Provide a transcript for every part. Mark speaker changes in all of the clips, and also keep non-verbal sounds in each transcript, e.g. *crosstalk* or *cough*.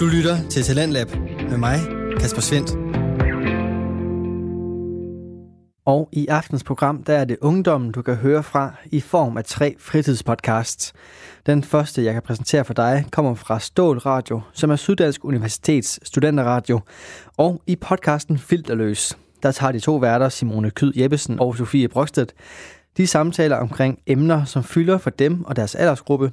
Speaker 1: Du lytter til Talentlab med mig, Kasper Svendt. Og i aftens program, der er det ungdommen, du kan høre fra i form af tre fritidspodcasts. Den første, jeg kan præsentere for dig, kommer fra Stål Radio, som er Syddansk Universitets studenterradio. Og i podcasten Filterløs, der tager de to værter, Simone Kyd Jeppesen og Sofie Brokstedt, de samtaler omkring emner, som fylder for dem og deres aldersgruppe.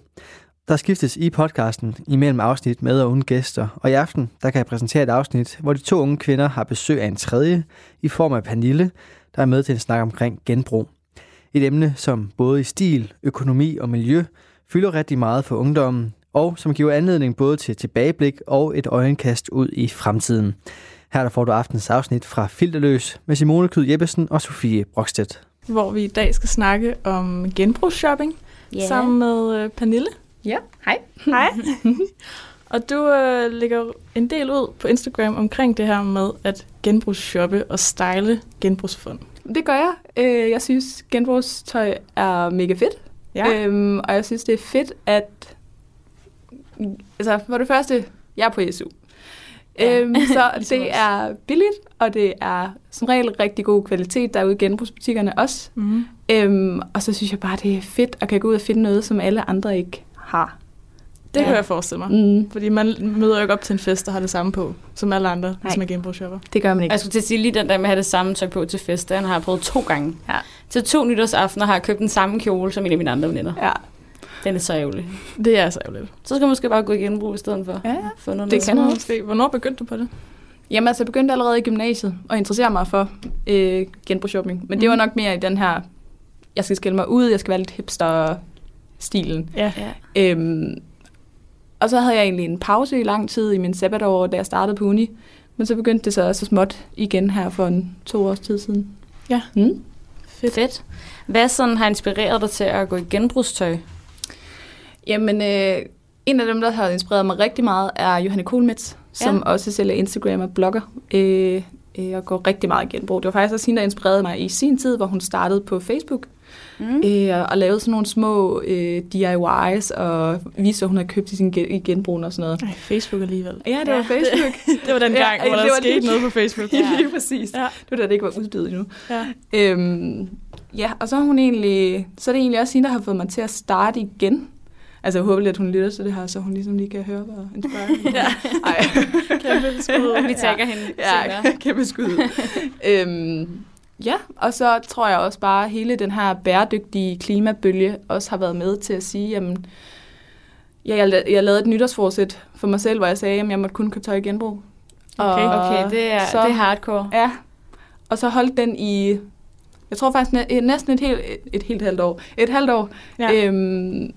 Speaker 1: Der skiftes i podcasten imellem afsnit med og uden gæster, og i aften der kan jeg præsentere et afsnit, hvor de to unge kvinder har besøg af en tredje i form af Pernille, der er med til en snak omkring genbrug. Et emne, som både i stil, økonomi og miljø fylder rigtig meget for ungdommen, og som giver anledning både til tilbageblik og et øjenkast ud i fremtiden. Her der får du aftens afsnit fra Filterløs med Simone Kyd Jeppesen og Sofie Brokstedt.
Speaker 2: hvor vi i dag skal snakke om genbrugsshopping yeah. sammen med øh, Pernille.
Speaker 3: Ja, hej.
Speaker 2: *laughs* Hej. og du øh, lægger jo en del ud på Instagram omkring det her med at genbrugsshoppe og style genbrugsfund.
Speaker 3: Det gør jeg. Øh, Jeg synes, genbrugstøj er mega fedt. Øhm, og jeg synes, det er fedt, at... Altså, for det første, jeg er på SU. Ja. *laughs* Øhm, så
Speaker 2: ligesom
Speaker 3: det
Speaker 2: os.
Speaker 3: er billigt, og det er som regel rigtig god kvalitet derude i genbrugsbutikkerne også.
Speaker 2: Mm.
Speaker 3: Øhm, og så synes jeg bare, det er fedt at kan gå ud og finde noget, som alle andre ikke har.
Speaker 2: Det kan
Speaker 3: Ja.
Speaker 2: jeg forestille mig.
Speaker 3: Mm,
Speaker 2: Fordi man møder jo ikke op til en fest, der har det samme på, som alle andre, Nej. hvis
Speaker 3: Nej.
Speaker 2: man genbrugsshopper.
Speaker 3: det gør man
Speaker 4: Og Jeg
Speaker 3: ikke.
Speaker 4: skulle til at sige, lige den der med at have det samme tøj på til fest, den har jeg prøvet to gange.
Speaker 3: Ja.
Speaker 4: Til to nytårsaftener har jeg købt den samme kjole som en af mine andre veninder.
Speaker 3: Ja,
Speaker 4: Den er så ærgerlig.
Speaker 2: Det er så ærgerligt.
Speaker 4: Så skal man måske bare gå i genbrug i stedet for.
Speaker 3: ja.
Speaker 4: Få noget
Speaker 3: Det
Speaker 4: med.
Speaker 3: kan man.
Speaker 2: Måske. Hvornår begyndte du på det?
Speaker 3: Jamen altså, jeg begyndte allerede i gymnasiet og interesserer mig for øh, genbrugsshopping. Men det var
Speaker 2: Mhm.
Speaker 3: nok mere i den her, jeg skal skille mig ud, jeg skal være lidt hipster-stilen.
Speaker 4: Ja.
Speaker 3: Øhm, og så havde jeg egentlig en pause i lang tid i min sabbatår, da jeg startede på uni. Men så begyndte det så så småt igen her for en to års tid siden.
Speaker 2: Ja.
Speaker 3: Mm.
Speaker 4: Fedt. Fedt. Hvad sådan har inspireret dig til at gå i genbrugstøj?
Speaker 3: Jamen, øh, en af dem, der har inspireret mig rigtig meget, er Johanne Kohlmetz, som
Speaker 4: Ja.
Speaker 3: også sælger Instagram og blogger. Øh, øh, og går rigtig meget i genbrug. Det var faktisk også hende, der inspirerede mig i sin tid, hvor hun startede på Facebook
Speaker 4: Mm.
Speaker 3: Øh, og lavede sådan nogle små øh, DIYs, og viste, hvad hun havde købt i sin gen- i genbrug og sådan noget.
Speaker 2: Nej, Facebook alligevel.
Speaker 3: Ja, det var Facebook.
Speaker 2: *laughs* Det var den
Speaker 3: Ja,
Speaker 2: gang, ja, hvor
Speaker 3: det
Speaker 2: der
Speaker 3: var
Speaker 2: skete
Speaker 3: lige-
Speaker 2: noget på Facebook.
Speaker 3: Ja. *laughs* Lige præcis.
Speaker 2: Ja.
Speaker 3: Ja. Det var da det ikke var uddød endnu.
Speaker 2: Ja.
Speaker 3: Øhm, ja, og så er, hun egentlig, så er det egentlig også hende, der har fået mig til at starte igen. Altså, jeg håber lidt, at hun lytter til det her, så hun ligesom lige kan høre, hvad inspirerer
Speaker 4: *laughs*
Speaker 3: ja. *laughs* Ej.
Speaker 2: Kæmpe skud.
Speaker 4: Vi tager hende senere.
Speaker 3: *laughs* Ja, kæmpe skud. øhm, ja, og så tror jeg også bare, at hele den her bæredygtige klimabølge også har været med til at sige, jamen, ja, jeg, la- jeg lavede et nytårsforsæt for mig selv, hvor jeg sagde, at jeg måtte kun købe tøj i genbrug.
Speaker 2: Okay.
Speaker 4: Okay, det er,
Speaker 3: så,
Speaker 4: det er hardcore.
Speaker 3: Ja, og så holdt den i, jeg tror faktisk næ- næsten et helt, et helt halvt år. Et halvt år.
Speaker 2: Ja.
Speaker 3: Øhm,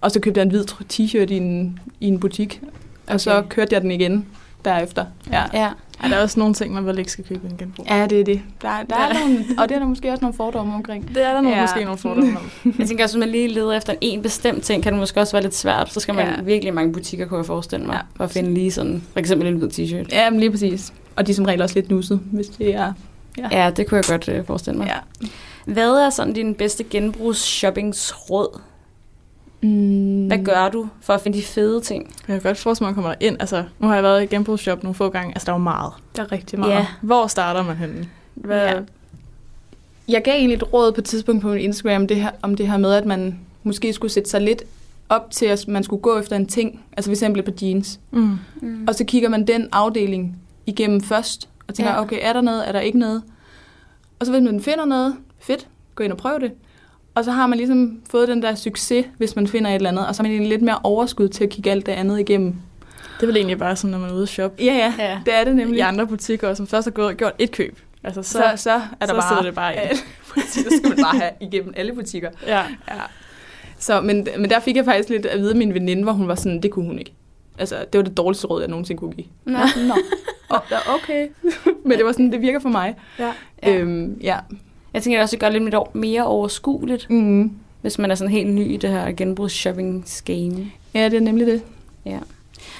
Speaker 3: og så købte jeg en hvid tr- t-shirt i en, i en butik, okay. og så
Speaker 4: Okay.
Speaker 3: kørte jeg den igen derefter. Ja.
Speaker 4: Ja.
Speaker 2: Ej, der er også nogle ting, man vel ikke skal købe i en genbrug.
Speaker 3: Ja, det er det. Der, der
Speaker 4: Ja.
Speaker 3: er nogle, og det er der måske også nogle fordomme omkring.
Speaker 2: Det er der nogle, ja.
Speaker 3: Ja.
Speaker 2: måske nogle fordomme om.
Speaker 4: Jeg tænker også, hvis man lige leder efter en bestemt ting, kan det måske også være lidt svært. Så skal man
Speaker 3: Ja.
Speaker 4: ja. virkelig i mange butikker, kunne jeg forestille mig,
Speaker 3: Ja.
Speaker 4: ja. for at finde lige sådan, for eksempel en hvid t-shirt.
Speaker 3: Ja, men lige præcis. Og de er som regel også lidt nusset, hvis det er...
Speaker 4: Ja, det kunne jeg godt øh, forestille mig. Hvad er sådan din bedste genbrugssshoppingsråd?
Speaker 3: Mm.
Speaker 4: Hvad gør du for at finde de fede ting?
Speaker 2: Jeg kan godt forestille mig, at man kommer ind. Altså, nu har jeg været i genbrugsshop nogle få gange. Altså, der er jo meget.
Speaker 3: Der er rigtig meget.
Speaker 4: Ja.
Speaker 2: Hvor starter man henne? Hvad?
Speaker 3: Ja. Jeg gav egentlig et råd på et tidspunkt på min Instagram det her, om det her med, at man måske skulle sætte sig lidt op til, at man skulle gå efter en ting. Altså for eksempel på jeans.
Speaker 2: Mm.
Speaker 4: Mm.
Speaker 3: Og så kigger man den afdeling igennem først, og tænker,
Speaker 4: Ja.
Speaker 3: okay, er der noget, er der ikke noget? Og så hvis man finder noget, fedt, gå ind og prøv det. Og så har man ligesom fået den der succes, hvis man finder et eller andet, og så har man egentlig lidt mere overskud til at kigge alt det andet igennem.
Speaker 2: Det er vel egentlig bare sådan, når man er ude at shoppe.
Speaker 3: Ja, ja,
Speaker 4: Ja.
Speaker 3: det er det nemlig.
Speaker 2: I andre butikker, som først har gået og gjort et køb. Altså, så,
Speaker 3: så, så, så er der
Speaker 2: så
Speaker 3: bare...
Speaker 2: sidder det bare i.
Speaker 3: Ja, præcis, så skal man bare have igennem alle butikker.
Speaker 2: ja.
Speaker 3: *laughs* Ja. Så, men, men der fik jeg faktisk lidt at vide af min veninde, hvor hun var sådan, det kunne hun ikke. Altså, det var det dårligste råd, jeg nogensinde kunne give.
Speaker 4: Nå.
Speaker 3: Nå. *laughs* Og, ja, *laughs* okay. men det var sådan, det virker for mig.
Speaker 2: Ja.
Speaker 4: Ja.
Speaker 3: Øhm, ja.
Speaker 4: Jeg tænker det også, det gør det lidt over- mere overskueligt,
Speaker 3: Mm.
Speaker 4: hvis man er sådan helt ny i det her genbrugsshopping-game.
Speaker 3: ja, det er nemlig det.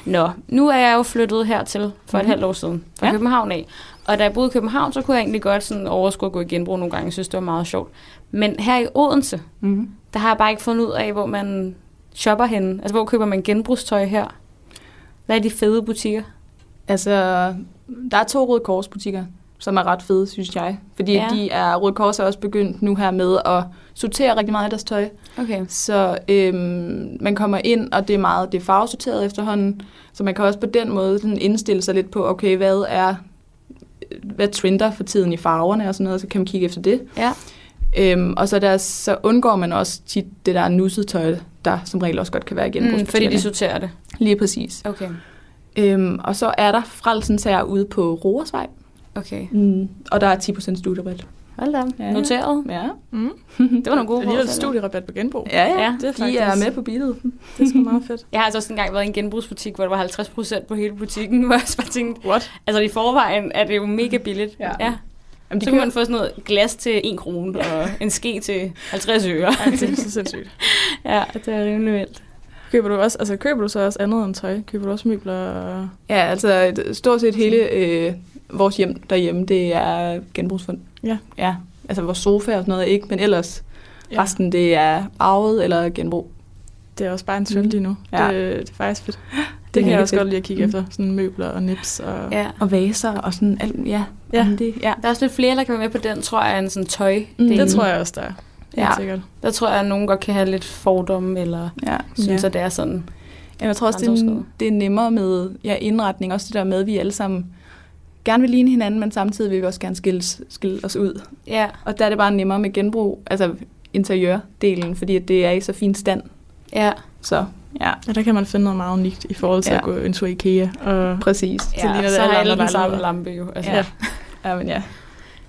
Speaker 4: Nå, nu er jeg jo flyttet hertil for et
Speaker 3: Mhm.
Speaker 4: halvt år siden fra
Speaker 3: Ja.
Speaker 4: ja. København af. Og da jeg boede i København, så kunne jeg egentlig godt sådan overskue at gå i genbrug nogle gange. Jeg synes, det var meget sjovt. Men her i Odense,
Speaker 3: Mm.
Speaker 4: der har jeg bare ikke fundet ud af, hvor man shopper henne. Altså, hvor køber man genbrugstøj her? Hvad er de fede butikker?
Speaker 3: Altså, der er to Røde Kors butikker, som er ret fede, synes jeg. Fordi
Speaker 4: Ja.
Speaker 3: ja. de er, Røde Kors er også begyndt nu her med at sortere rigtig meget i deres tøj.
Speaker 4: Okay.
Speaker 3: Så øhm, man kommer ind, og det er meget det er farvesorteret efterhånden. Så man kan også på den måde sådan indstille sig lidt på, okay, hvad er hvad trender for tiden i farverne og sådan noget, så kan man kigge efter det.
Speaker 4: Ja.
Speaker 3: Øhm, og så, der, så undgår man også tit det der nusset tøj, der som regel også godt kan være i
Speaker 4: Mm, fordi
Speaker 3: genbrugsbutikkerne.
Speaker 4: de sorterer det.
Speaker 3: Lige præcis.
Speaker 4: Okay.
Speaker 3: Øhm, og så er der frelsens her ude på Roersvej,
Speaker 4: Okay.
Speaker 3: mm. og der er 10% studierabat.
Speaker 4: Hold da.
Speaker 3: Ja.
Speaker 4: Noteret.
Speaker 3: *laughs* Ja.
Speaker 2: Mm.
Speaker 4: Det var nogle gode
Speaker 2: Alligevel
Speaker 4: råd,
Speaker 2: studierabat på genbrug.
Speaker 3: Ja, ja.
Speaker 4: Ja,
Speaker 3: ja
Speaker 2: det er
Speaker 3: de er
Speaker 2: faktisk-
Speaker 3: med på beatet.
Speaker 2: Det er sgu meget fedt.
Speaker 4: Jeg har altså også engang været i en genbrugsbutik, hvor der var 50 procent på hele butikken, *laughs* hvor jeg også bare tænkte,
Speaker 2: What?
Speaker 4: altså i forvejen er det jo mega billigt.
Speaker 3: Ja.
Speaker 4: ja.
Speaker 3: Jamen, de
Speaker 4: Så kunne
Speaker 3: kører,
Speaker 4: man få sådan noget glas til 1 krone og en ske til 50 øre.
Speaker 2: Ej, det er så *laughs* sindssygt.
Speaker 4: Ja, det er rimelig vildt.
Speaker 2: Køber du, også, altså, køber du så også andet end tøj? Køber du også møbler? og-
Speaker 3: ja, altså et- stort set hele øh, vores hjem derhjemme, det er genbrugsfond.
Speaker 2: Ja.
Speaker 3: ja. Altså vores sofa og sådan noget ikke, men ellers ja. resten det er arvet eller genbrug.
Speaker 2: Det er også bare en trend
Speaker 3: Mm.
Speaker 2: lige nu.
Speaker 3: Ja.
Speaker 2: Det, det er faktisk fedt. Det,
Speaker 3: Det
Speaker 2: det kan
Speaker 3: er
Speaker 2: jeg også
Speaker 3: fedt.
Speaker 2: godt lide at kigge efter. Sådan møbler og nips. Og...
Speaker 4: Ja.
Speaker 3: Og vaser og sådan alt, ja.
Speaker 2: Ja.
Speaker 3: Jamen, Det, ja.
Speaker 4: Der er også lidt flere, der kan være med på den, tror jeg, end sådan tøj.
Speaker 3: Mm.
Speaker 2: Det
Speaker 3: Mm.
Speaker 2: tror jeg også, der er. Helt
Speaker 3: Ja.
Speaker 2: ja. sikkert.
Speaker 4: Der tror jeg, at nogen godt kan have lidt fordomme, eller
Speaker 3: ja.
Speaker 4: synes,
Speaker 2: Ja.
Speaker 4: at det er sådan.
Speaker 3: Jamen, jeg tror også, det er,
Speaker 4: Grænseoverskridende.
Speaker 3: det er nemmere med ja, indretning. Også det der med, at vi alle sammen gerne vil ligne hinanden, men samtidig vil vi også gerne skilles, skille os ud.
Speaker 4: Ja,
Speaker 3: Og der er det bare nemmere med genbrug, altså interiørdelen, fordi at det er i så fin stand.
Speaker 4: ja.
Speaker 3: Så ja,
Speaker 2: Ja, der kan man finde noget meget unikt i forhold til ja.
Speaker 3: Ja.
Speaker 2: at gå en tur i IKEA. Og...
Speaker 3: præcis.
Speaker 2: Så ligner det
Speaker 4: så
Speaker 2: alle andre
Speaker 4: har alle den samme
Speaker 2: lejligheder.
Speaker 4: lampe jo. Altså.
Speaker 3: Ja. Ja, men ja.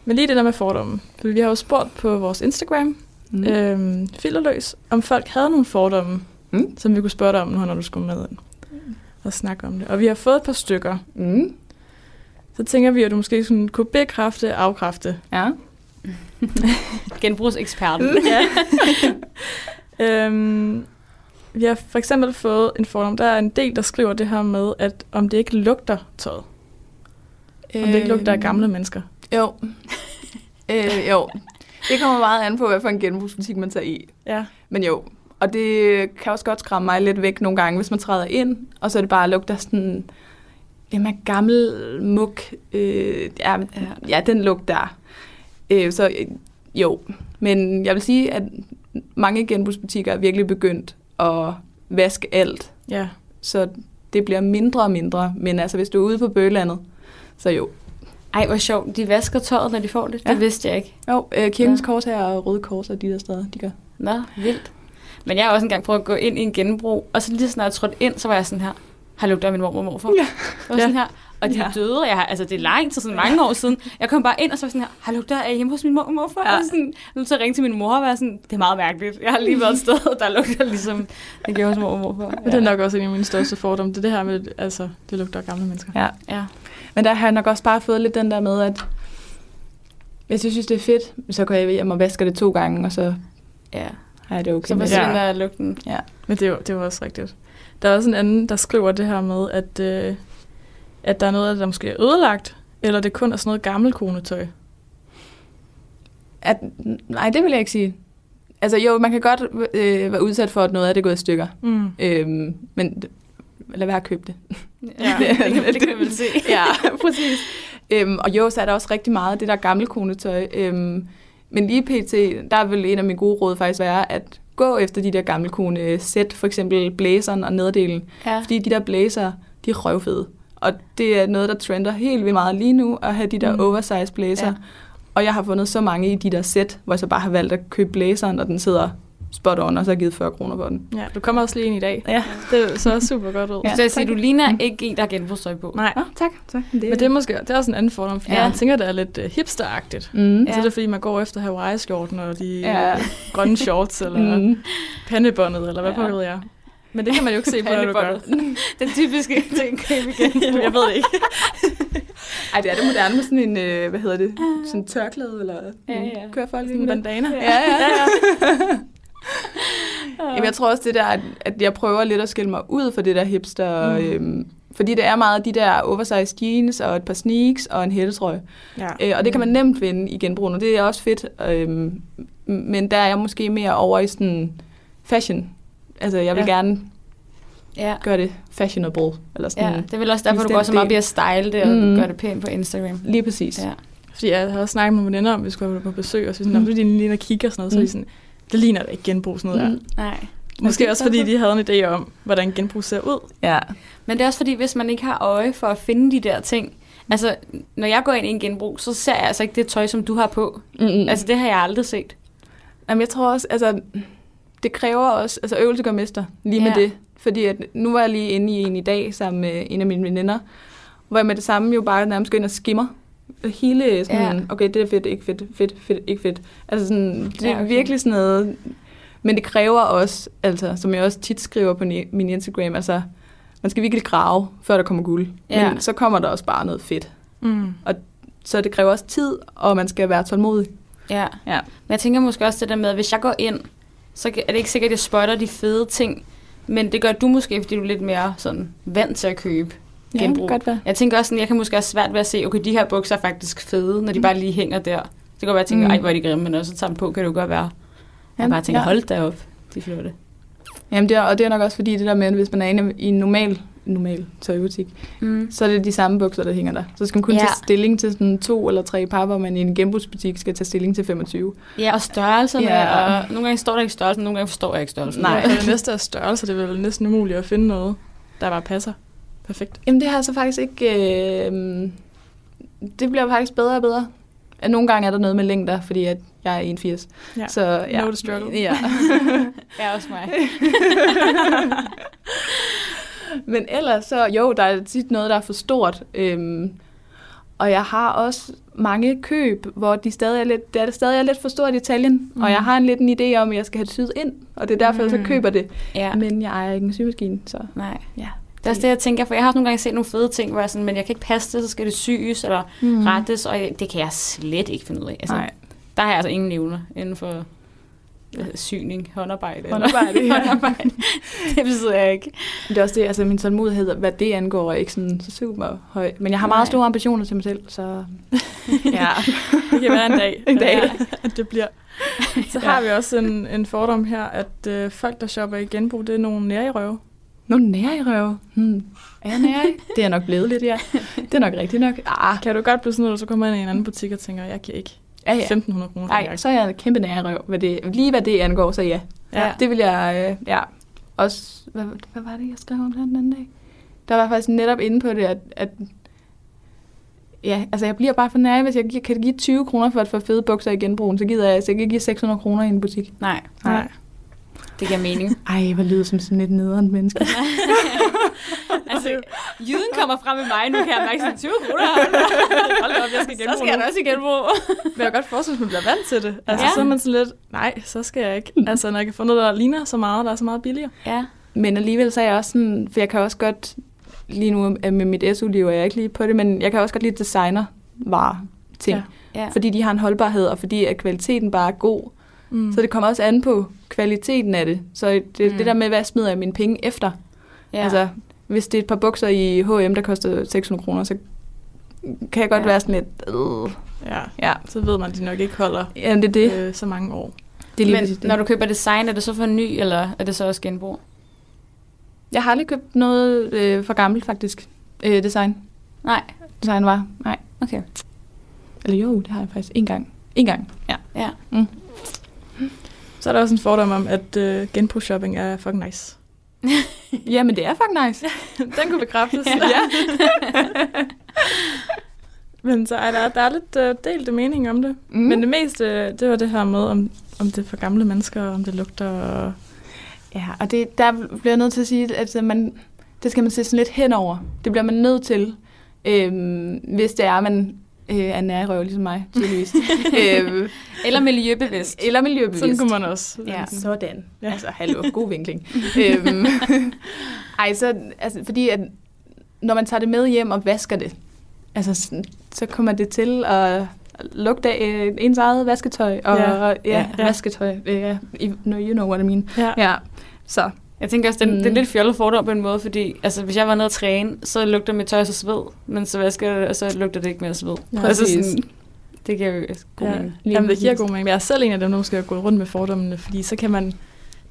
Speaker 2: Men lige det der med fordomme. For vi har jo spurgt på vores Instagram,
Speaker 3: Mm.
Speaker 2: mm. øhm, filterløs, om folk havde nogle fordomme,
Speaker 3: Mm.
Speaker 2: mm. som vi kunne spørge dig om, når du skulle med ind og snakke om det. Og vi har fået et par stykker.
Speaker 3: Mm.
Speaker 2: Så tænker vi, at du måske sådan kunne bekræfte, afkræfte.
Speaker 3: Ja.
Speaker 4: Genbrugseksperten.
Speaker 2: *laughs* Mm. Øhm, vi har for eksempel fået en fordom. Der er en del, der skriver det her med, at om det ikke lugter tøjet. Om det ikke lugter af gamle mennesker.
Speaker 3: Øh, Jo. *laughs* øh, jo. Det kommer meget an på, hvad for en genbrugsbutik man tager i.
Speaker 2: Ja.
Speaker 3: Men jo, og det kan også godt skræmme mig lidt væk nogle gange, hvis man træder ind, og så er det bare lugter sådan, jamen gammel muk, øh, ja, ja, den lugt der. Øh, så øh, jo, men jeg vil sige, at mange genbrugsbutikker er virkelig begyndt at vaske alt,
Speaker 2: Ja.
Speaker 3: så det bliver mindre og mindre, men altså hvis du er ude på bøgelandet, så jo.
Speaker 4: Ej, hvor sjovt. De vasker tøjet, når de får det. Ja.
Speaker 3: Ja.
Speaker 4: Det vidste jeg ikke.
Speaker 3: Jo, øh, kirkens
Speaker 4: Ja.
Speaker 3: ja. kors her og røde kors og de der steder, de gør.
Speaker 4: Nå, vildt. Men jeg har også engang prøvet at gå ind i en genbrug, og så lige så snart jeg trådte ind, så var jeg sådan her, har lugtet af min mormor og morfar.
Speaker 3: Ja.
Speaker 4: Det var sådan her, og de
Speaker 3: Ja.
Speaker 4: døde, og jeg har, altså det er lang tid, sådan mange år siden. Jeg kom bare ind, og så var jeg sådan her, har lugtet af hjemme hos min mor og morfar. Ja.
Speaker 3: Ja.
Speaker 4: Og sådan, nu til at ringe til min mor og være sådan, det er meget mærkeligt. Jeg har lige været et sted, *laughs* der lugter ligesom, det gjorde hos mor og morfar.
Speaker 2: Men det er nok også en af mine største fordomme. Det er det her med, altså, det lugter af gamle mennesker.
Speaker 3: Ja.
Speaker 4: Ja.
Speaker 3: Men der har jeg nok også bare fået lidt den der med, at hvis jeg synes, det er fedt, så går jeg hjem og vasker det to gange, og så
Speaker 4: ja.
Speaker 3: har jeg det okay.
Speaker 4: Så
Speaker 3: med det.
Speaker 4: forsvinder ja. lugten.
Speaker 2: Men det er, jo, det er jo også rigtigt. Der er også en anden, der skriver det her med, at, øh, at der er noget, af det, der måske er ødelagt, eller det kun er sådan noget gammelt konetøj.
Speaker 3: at, nej, det vil jeg ikke sige. Altså jo, man kan godt øh, være udsat for, at noget af det er gået i stykker.
Speaker 2: Mm.
Speaker 3: Øhm, men d- lad være at købe det.
Speaker 4: Ja, *laughs* det, kan, det kan jeg vel se.
Speaker 3: *laughs* ja, præcis. Øhm, og jo, så er der også rigtig meget af det der gamle konetøj. Øhm, men lige pt, der vil en af mine gode råd faktisk være, at gå efter de der gamle kone sæt, for eksempel blæseren og nederdelen.
Speaker 4: Ja.
Speaker 3: Fordi de der blæser, de er røvfede. Og det er noget, der trender helt vildt meget lige nu, at have de der mm.
Speaker 2: Mm.
Speaker 3: oversize blæser.
Speaker 4: Ja.
Speaker 3: Ja. Og jeg har fundet så mange i de der sæt, hvor jeg så bare har valgt at købe blæseren, og den sidder spot on, og så har jeg givet 40 kroner på den.
Speaker 2: Ja, du kommer også lige ind i dag.
Speaker 3: Ja.
Speaker 2: Det så også super godt ud.
Speaker 4: Ja,
Speaker 3: Ja,
Speaker 4: så jeg siger,
Speaker 3: tak.
Speaker 4: du ligner ikke en, der har genbrugstøj på.
Speaker 2: Nej,
Speaker 3: Ah, tak. tak. Det...
Speaker 2: men det er måske det er også en anden fordom, fordi
Speaker 4: Ja.
Speaker 2: ja. man tænker, det er lidt uh, hipsteragtigt.
Speaker 3: Mm.
Speaker 2: Ja.
Speaker 4: Ja.
Speaker 2: Så er det fordi, man går efter Hawaii-skjorten og de ja.
Speaker 3: Ja.
Speaker 2: grønne shorts, eller mm.
Speaker 3: *laughs* Mm.
Speaker 2: pandebåndet, eller hvad
Speaker 3: Ja.
Speaker 2: ja. pokker ved jeg. Men det kan man jo ikke
Speaker 4: *laughs*
Speaker 2: se på, når du gør det.
Speaker 4: Den
Speaker 2: *laughs*
Speaker 4: typiske ting, køb igen.
Speaker 2: Jeg ved det
Speaker 4: *laughs*
Speaker 2: ikke.
Speaker 3: Ej, det er det moderne med sådan en, øh, hvad hedder det, sådan en tørklæde, eller
Speaker 4: Ja, ja.
Speaker 3: kører folk
Speaker 2: Sådan en
Speaker 3: sådan den.
Speaker 2: bandana.
Speaker 3: Ja, ja. ja. *laughs* Jamen, jeg tror også det der, at, at jeg prøver lidt at skille mig ud for det der hipster, mm. øhm, fordi det er meget de der oversized jeans og et par sneaks og en hættetrøje.
Speaker 2: ja.
Speaker 3: Øh, og det kan man nemt finde i genbrugen, og det er også fedt. Øhm, men der er jeg måske mere over i sådan fashion. Altså, jeg vil
Speaker 2: Ja.
Speaker 3: ja. gerne
Speaker 4: Ja.
Speaker 3: gør det fashionable. Eller sådan.
Speaker 4: ja, det er vel også derfor, du
Speaker 3: Bestemt
Speaker 4: går så meget op i
Speaker 3: del.
Speaker 4: at style det og
Speaker 3: Mm.
Speaker 4: mm. gøre det pænt på Instagram.
Speaker 3: Lige præcis.
Speaker 4: Ja.
Speaker 2: Fordi jeg havde snakket med veninder om, at vi skulle være på besøg, og så sådan,
Speaker 3: Mm.
Speaker 2: mm. fordi de lige kigger og sådan noget, så er de sådan, det ligner da ikke genbrug sådan noget mm. der.
Speaker 3: Mm.
Speaker 4: Nej.
Speaker 2: Måske
Speaker 3: det
Speaker 2: også
Speaker 3: er
Speaker 2: fordi
Speaker 3: så-
Speaker 2: de havde en idé om, hvordan genbrug ser ud.
Speaker 3: ja.
Speaker 4: Men det er også fordi, hvis man ikke har øje for at finde de der ting, altså når jeg går ind i en genbrug, så ser jeg altså ikke det tøj, som du har på.
Speaker 3: Mm-mm.
Speaker 4: Mm. Altså det har jeg aldrig set.
Speaker 3: Jamen, jeg tror også, altså, det kræver også, altså øvelse gør mester, lige med
Speaker 4: Ja.
Speaker 3: det. Fordi at, nu var jeg lige inde i en i dag sammen med en af mine veninder, hvor jeg med det samme jo bare nærmest går ind og skimmer hele sådan,
Speaker 4: Ja.
Speaker 3: okay, det er fedt, ikke fedt, fedt, fedt, ikke fedt. Altså sådan, det
Speaker 4: Ja, okay.
Speaker 3: ja, okay. er virkelig sådan noget, men det kræver også, altså, som jeg også tit skriver på ni- min Instagram, altså, man skal virkelig grave, før der kommer guld.
Speaker 4: Ja.
Speaker 3: Men så kommer der også bare noget fedt.
Speaker 2: Mm.
Speaker 3: Så det kræver også tid, og man skal være tålmodig.
Speaker 4: Ja.
Speaker 3: Ja.
Speaker 4: Men jeg tænker måske også det der med, at hvis jeg går ind, så er det ikke sikkert, at jeg spotter de fede ting. Men det gør du måske, fordi du er lidt mere sådan vant til at købe genbrug.
Speaker 3: godt være.
Speaker 4: Jeg tænker også sådan, jeg kan måske have svært ved at se, okay, de her bukser er faktisk fede, når de bare lige hænger der. Det kan godt være, at jeg tænker,
Speaker 3: Mm.
Speaker 4: ej, hvor er de grimme, men når så tager dem på, kan det jo godt være. Jeg
Speaker 3: Ja,
Speaker 4: bare tænker,
Speaker 3: ja.
Speaker 4: hold da op, de er flotte.
Speaker 3: Jamen, det er, og det er nok også fordi, det der med, at hvis man er inde i en normal, normal tøjbutik,
Speaker 4: Mm.
Speaker 3: så er det de samme bukser, der hænger der. Så skal man kun
Speaker 4: Ja.
Speaker 3: ja. tage stilling til sådan to eller tre par, hvor man i en genbrugsbutik skal tage stilling til 25.
Speaker 4: Ja, og størrelserne,
Speaker 3: Ja.
Speaker 4: yeah. og nogle gange står der ikke størrelsen, nogle gange forstår jeg ikke størrelsen.
Speaker 3: Nej.
Speaker 2: Nej. Og det næste er størrelse, det er vel næsten umuligt at finde noget, der bare passer perfekt.
Speaker 3: Jamen, det har jeg så faktisk ikke... Øh, det bliver faktisk bedre og bedre. Nogle gange er der noget med længder, fordi at jeg er 81.
Speaker 2: Ja.
Speaker 3: Så, ja.
Speaker 2: Know the struggle.
Speaker 3: Ja.
Speaker 4: *laughs*
Speaker 2: *laughs*
Speaker 4: Ja, også
Speaker 3: *laughs*
Speaker 4: mig.
Speaker 3: Men ellers så, jo, der er tit noget, der er for stort. Øhm, og jeg har også mange køb, hvor de stadig er lidt, det er stadig er lidt for stort i Italien. Mm. Og jeg har en lidt en idé om, at jeg skal have det syet ind. Og det er derfor, mm. jeg
Speaker 4: Mm.
Speaker 3: så køber det.
Speaker 4: Ja,
Speaker 3: Ja. Men jeg ejer ikke en symaskine, så
Speaker 4: nej.
Speaker 3: ja.
Speaker 4: Det er også det, jeg tænker, for jeg har også nogle gange set nogle fede ting, hvor jeg er sådan, men jeg kan ikke passe det, så skal det syes eller mm. rettes, og jeg- det kan jeg slet ikke finde ud af. Altså,
Speaker 3: Nej.
Speaker 4: Der har jeg altså ingen evner inden for øh, syning, håndarbejde. eller-
Speaker 3: Håndarbejde, ja.
Speaker 4: håndarbejde.
Speaker 3: *laughs*
Speaker 4: det besidder jeg ikke.
Speaker 3: Det er også det, altså min tålmodighed, hvad det angår, er ikke sådan så super høj. Men jeg har meget
Speaker 4: Nej.
Speaker 3: store ambitioner til mig selv,
Speaker 4: *laughs*
Speaker 3: så *laughs* ja.
Speaker 2: Det kan være en dag,
Speaker 3: *laughs* En dag.
Speaker 2: at det
Speaker 3: *laughs*
Speaker 2: bliver. Så
Speaker 3: Ja.
Speaker 2: har vi også en, en fordom her, at øh, folk, der shopper i genbrug, det er nogle nærerøve.
Speaker 3: Nu nærer I røve. Hmm. Er jeg nærer I? Det er jeg nok blevet lidt, ja. Det er nok rigtigt nok. Ah,
Speaker 2: Kan du godt blive sådan noget, at du så kommer ind i en anden butik og tænker, jeg giver ikke
Speaker 3: ja, ja.
Speaker 2: 1.500 kroner for en
Speaker 3: Nej,
Speaker 2: jakke.
Speaker 3: så er jeg en kæmpe nærerøv. Hvad det, lige hvad det angår, så ja.
Speaker 4: Ja.
Speaker 3: Det vil jeg, øh, ja. Også, hvad, hvad var det, jeg skrev om det her den anden dag? Der var jeg faktisk netop inde på det, at, at ja, altså jeg bliver bare for nær, hvis jeg gi- kan give 20 kroner for at få fede bukser i genbrugen, så gider jeg altså ikke give 600 kroner i en butik.
Speaker 4: Nej,
Speaker 3: Nej.
Speaker 4: det giver
Speaker 3: *laughs*
Speaker 4: mening.
Speaker 3: Ej, hvor lyder som sådan lidt nederen menneske.
Speaker 4: altså, jyden kommer frem med mig, nu kan jeg mærke sådan 20 kroner. Hold da op, jeg skal genbruge Så skal jeg også i genbrug.
Speaker 2: Men jeg kan godt forestille, at man bliver vant til det. Altså,
Speaker 4: Ja.
Speaker 2: ja. så er man sådan lidt, nej, så skal jeg ikke. Altså, når jeg kan få noget, der ligner så meget, der er så meget billigere.
Speaker 4: ja.
Speaker 3: Men alligevel så er jeg også sådan, for jeg kan også godt, lige nu øh, med mit SU-liv er jeg ikke lige på det, men jeg kan også godt lide designervarer ting.
Speaker 2: Ja.
Speaker 3: Ja.
Speaker 4: ja.
Speaker 3: Fordi de har en holdbarhed, og fordi at kvaliteten bare er god.
Speaker 2: Mm.
Speaker 3: Så det kommer også an på kvaliteten af det. Så det,
Speaker 4: Mm.
Speaker 3: mm. det der med, hvad smider jeg mine penge efter?
Speaker 4: ja.
Speaker 3: Altså, hvis det er et par bukser i H&M, der koster 600 kroner, så kan jeg godt
Speaker 4: Ja.
Speaker 3: ja. være sådan lidt... Øh,
Speaker 2: ja.
Speaker 3: ja,
Speaker 2: Så ved man, at de nok ikke holder
Speaker 3: Jamen, det er det.
Speaker 2: øh, så mange år.
Speaker 3: det er lige
Speaker 4: men
Speaker 3: præcis det.
Speaker 4: når du køber design, er det så for ny, eller er det så også genbrug?
Speaker 3: Jeg har aldrig købt noget øh, for gammelt, faktisk. Øh, design.
Speaker 4: Nej,
Speaker 3: Design var. Nej.
Speaker 4: okay.
Speaker 3: Eller jo, det har jeg faktisk. En gang. En gang. Ja.
Speaker 4: Ja.
Speaker 2: Så er der også en fordom om, at øh, genbrugsshopping er fucking nice.
Speaker 3: ja, men det er fucking *laughs* nice.
Speaker 2: Den kunne bekræftes.
Speaker 4: Ja.
Speaker 2: *laughs* Men så er der, der er lidt øh, delte mening om det.
Speaker 3: Mm.
Speaker 2: Mm. Men det meste, øh, det var det her med, om, om det er for gamle mennesker, og om det lugter. Og...
Speaker 3: Ja, og det, der bliver jeg nødt til at sige, at man, det skal man se sådan lidt henover. Det bliver man nødt til, øhm, hvis det er, man øh, er nærrøv, ligesom mig,
Speaker 2: *laughs*
Speaker 3: tydeligvis. øhm,
Speaker 4: Eller miljøbevidst.
Speaker 3: eller miljøbevidst.
Speaker 2: Sådan kunne man også.
Speaker 4: Ja.
Speaker 3: Sådan.
Speaker 2: Ja.
Speaker 3: Altså, hallo,
Speaker 2: *laughs*
Speaker 3: god vinkling. øhm, ej, så, altså, fordi at, når man tager det med hjem og vasker det, altså, sådan, så kommer det til at lugte af øh, ens eget vasketøj. Og,
Speaker 2: Ja.
Speaker 3: ja, ja,
Speaker 2: Ja.
Speaker 3: vasketøj. Ja, I- no, you know what I mean.
Speaker 2: Ja.
Speaker 3: Ja, så.
Speaker 4: Jeg tænker også, den, mm.
Speaker 3: Mm.
Speaker 4: det er en lidt fjollet fordom på en måde, fordi altså, hvis jeg var nede og træne, så lugter mit tøj så sved, men så vasker jeg det, og så lugter det ikke mere sved.
Speaker 2: Ja.
Speaker 4: Altså,
Speaker 3: Præcis.
Speaker 4: sådan, det giver jo god
Speaker 2: Ja.
Speaker 4: mening.
Speaker 2: Jamen, det giver
Speaker 3: præcis.
Speaker 2: god mening. Jeg er selv en af dem, der måske har gået rundt med fordommene, fordi så kan man